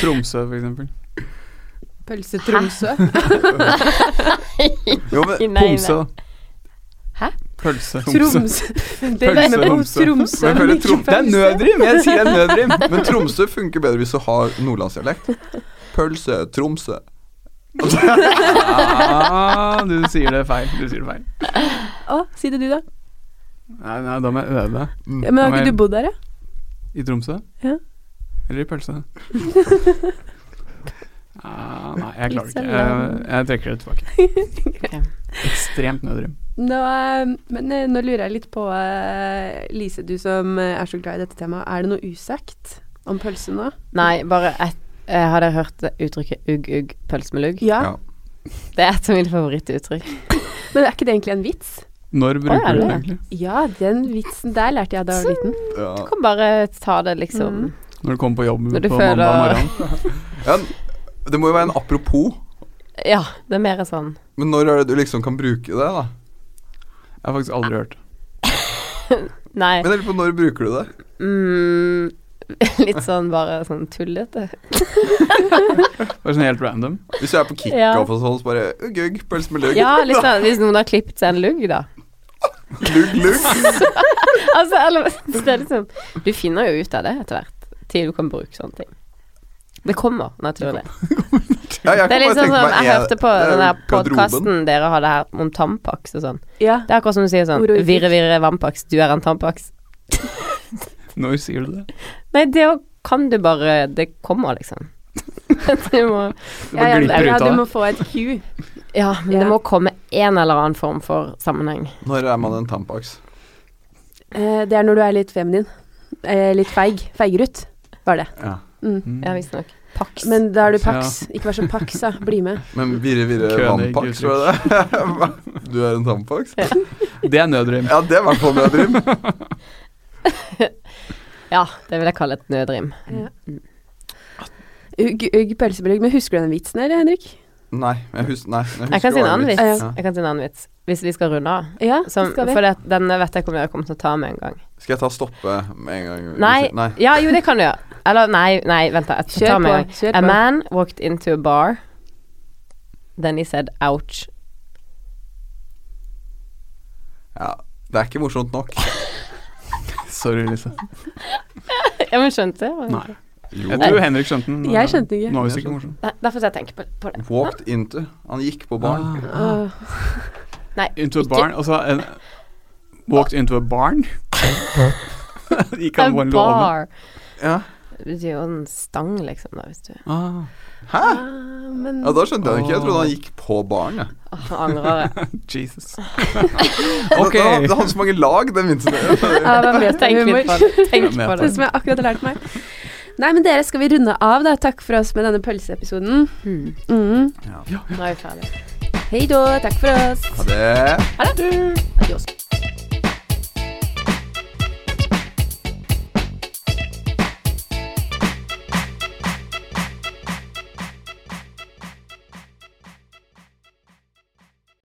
[SPEAKER 4] Tromsø, for eksempel.
[SPEAKER 1] Pølse Tromsø.
[SPEAKER 2] Jo, men
[SPEAKER 3] Nei, nei.
[SPEAKER 4] Pomse, da.
[SPEAKER 3] Hæ?
[SPEAKER 4] Pølse.
[SPEAKER 1] Tromsø. Det
[SPEAKER 4] Pølse,
[SPEAKER 1] rimer på
[SPEAKER 4] Tromsø.
[SPEAKER 1] Tromsø,
[SPEAKER 2] Men føler
[SPEAKER 1] men ikke
[SPEAKER 2] Trom-
[SPEAKER 4] Det er
[SPEAKER 1] pølse.
[SPEAKER 4] nødrim! Jeg sier det er nødrim.
[SPEAKER 2] Men Tromsø funker bedre hvis du har nordlandsdialekt. Pølse, Tromsø. Altså,
[SPEAKER 4] Ah, du sier det feil. Du sier det feil.
[SPEAKER 1] Å, si det du, da.
[SPEAKER 4] Nei, nei, da må jeg øve.
[SPEAKER 1] Ja,
[SPEAKER 2] Mm.
[SPEAKER 1] Men har
[SPEAKER 4] Nei,
[SPEAKER 1] ikke
[SPEAKER 4] men-
[SPEAKER 1] du bodd der, ja?
[SPEAKER 4] I Tromsø?
[SPEAKER 1] Ja.
[SPEAKER 4] Eller i pølse? Ah, nei, jeg klarer det ikke. Jeg,
[SPEAKER 3] Pølse,
[SPEAKER 4] jeg trekker det tilbake. Ekstremt nødrim.
[SPEAKER 1] Nå, eh, men eh, nå lurer jeg litt på, eh, Lise, du som eh, er så glad i dette temaet, er det noe usagt om pølse nå?
[SPEAKER 3] Nei, bare et, eh, Har dere hørt det uttrykket 'ugg, ugg, pølse med lugg'?
[SPEAKER 1] Ja.
[SPEAKER 2] Ja.
[SPEAKER 3] Det er et av mine favorittuttrykk.
[SPEAKER 1] Men er ikke det egentlig en vits?
[SPEAKER 4] Når
[SPEAKER 3] Å,
[SPEAKER 4] bruker
[SPEAKER 3] er
[SPEAKER 4] du
[SPEAKER 3] det
[SPEAKER 4] det
[SPEAKER 3] det?
[SPEAKER 4] egentlig?
[SPEAKER 1] Ja, den vitsen der lærte jeg da jeg var liten.
[SPEAKER 2] ja.
[SPEAKER 3] Du kan bare ta det liksom
[SPEAKER 1] Mm.
[SPEAKER 4] Når du kommer på jobb
[SPEAKER 3] Når du
[SPEAKER 4] på
[SPEAKER 3] føler-
[SPEAKER 4] mandag morgen?
[SPEAKER 2] ja, det må jo være en apropos.
[SPEAKER 3] Ja, det er mer sånn
[SPEAKER 2] Men når er det du liksom kan bruke det, da?
[SPEAKER 4] Jeg har faktisk aldri hørt.
[SPEAKER 3] Nei.
[SPEAKER 2] Men jeg lurer på når bruker du det?
[SPEAKER 3] Mm, litt sånn bare sånn tullete.
[SPEAKER 4] Bare sånn helt random.
[SPEAKER 2] Hvis jeg er på kickoff og sånn, så bare ugg, ugg, pølse med lugg.
[SPEAKER 3] Ja, litt sånn hvis noen har klippet seg en lugg, da.
[SPEAKER 2] Lugg, lugg.
[SPEAKER 3] Altså, eller, det er liksom Du finner jo ut av det etter hvert, til du kan bruke sånne ting. Det kommer naturlig.
[SPEAKER 2] Ja, jeg
[SPEAKER 3] Det
[SPEAKER 2] kan
[SPEAKER 3] er
[SPEAKER 2] bare
[SPEAKER 3] litt sånn
[SPEAKER 2] tenke
[SPEAKER 3] som
[SPEAKER 2] meg,
[SPEAKER 3] jeg
[SPEAKER 2] er-
[SPEAKER 3] hørte på
[SPEAKER 2] det er
[SPEAKER 3] den der
[SPEAKER 2] garderoben.
[SPEAKER 3] podkasten dere hadde her om Tampax og sånn.
[SPEAKER 1] Ja.
[SPEAKER 3] Det er akkurat som du sier sånn
[SPEAKER 1] Ord og uttrykk.
[SPEAKER 3] Virre, virre, vampax, du er en tampax.
[SPEAKER 4] Når sier du det?
[SPEAKER 3] Nei, det å- kan du bare Det kommer, liksom. det må,
[SPEAKER 4] Det bare
[SPEAKER 1] ja,
[SPEAKER 4] glipper ut
[SPEAKER 1] ja,
[SPEAKER 4] av
[SPEAKER 1] du
[SPEAKER 4] det.
[SPEAKER 1] må få et Q.
[SPEAKER 3] ja, men det
[SPEAKER 1] Ja.
[SPEAKER 3] må komme en eller annen form for sammenheng.
[SPEAKER 2] Når er man en tampax?
[SPEAKER 1] Eh, det er når du er litt feminin. Eh, litt feig. Feigerut, var det.
[SPEAKER 2] Ja.
[SPEAKER 1] Mm.
[SPEAKER 4] Mm.
[SPEAKER 3] Ja, visstnok. Pax.
[SPEAKER 1] Men da er du paks. Ikke vær så paks, da. Bli med.
[SPEAKER 2] Men virre, virre,
[SPEAKER 4] Kønig liksom.
[SPEAKER 2] vannpax, var det det? Du er en tampax?
[SPEAKER 4] Det er nødrim.
[SPEAKER 2] Ja, det er i hvert fall nødrim.
[SPEAKER 3] Ja, det vil jeg kalle et nødrim.
[SPEAKER 1] Ugg, ugg, pølsebrygg. Men husker du den vitsen, eller, Henrik?
[SPEAKER 2] Nei, jeg husker Nei. Jeg, husker
[SPEAKER 3] Jeg kan si en
[SPEAKER 2] hva det
[SPEAKER 3] annen
[SPEAKER 2] er.
[SPEAKER 3] vits.
[SPEAKER 1] Ja.
[SPEAKER 3] Jeg kan si en annen vits hvis vi skal runde av.
[SPEAKER 1] Ja,
[SPEAKER 3] Som,
[SPEAKER 1] skal vi.
[SPEAKER 3] for det, denne vet jeg ikke om dere kommer til å ta med en gang.
[SPEAKER 2] Skal jeg ta stoppe med en gang?
[SPEAKER 3] Nei. Ja, jo, det kan du gjøre. Eller nei, nei, vent, da. Jeg
[SPEAKER 1] Kjør
[SPEAKER 3] tar med
[SPEAKER 1] på.
[SPEAKER 3] en gang.
[SPEAKER 1] Kjør
[SPEAKER 3] A
[SPEAKER 1] på.
[SPEAKER 3] man walked into a bar. Then he said ouch.
[SPEAKER 2] Ja, det er ikke morsomt nok.
[SPEAKER 4] Sorry, Lise.
[SPEAKER 3] Ja, men skjønte jeg?
[SPEAKER 4] Nei.
[SPEAKER 2] Jo.
[SPEAKER 4] Jeg tror Henrik skjønte den.
[SPEAKER 1] Jeg skjønte den ikke.
[SPEAKER 4] Den var visst ikke morsom.
[SPEAKER 3] Nei, Derfor skal jeg tenke på, på det.
[SPEAKER 2] Walked into. Han gikk på baren.
[SPEAKER 4] Ah.
[SPEAKER 1] Åh.
[SPEAKER 3] Nei,
[SPEAKER 4] Into a
[SPEAKER 3] ikke-
[SPEAKER 4] barn? Altså en Walked into a barn? Gikk han på en låve?
[SPEAKER 3] bar.
[SPEAKER 2] Ja.
[SPEAKER 3] Det betyr jo en stang, liksom, da, hvis du
[SPEAKER 4] Ah,
[SPEAKER 2] Hæ?
[SPEAKER 1] Ja, ah, men
[SPEAKER 2] Ja, Da skjønte jeg det ikke. Jeg trodde han gikk på baren. jeg.
[SPEAKER 3] Åh, nå angrer jeg.
[SPEAKER 4] Jesus.
[SPEAKER 2] Det, det, hadde-
[SPEAKER 4] Ok.
[SPEAKER 2] det hadde så mange lag, den vinteren.
[SPEAKER 3] Ja, hvem vet
[SPEAKER 1] Tenk litt på
[SPEAKER 3] det. Tenk
[SPEAKER 4] Hvem
[SPEAKER 3] på
[SPEAKER 4] vet
[SPEAKER 1] Det
[SPEAKER 3] det.
[SPEAKER 1] som jeg akkurat har lært meg. Nei, men dere, skal vi runde av, da? Takk for oss med denne pølseepisoden.
[SPEAKER 3] Hmm.
[SPEAKER 1] Mm.
[SPEAKER 3] Nå er vi ferdige.
[SPEAKER 1] Hei da. Takk for oss.
[SPEAKER 2] Ha det.
[SPEAKER 1] Adios.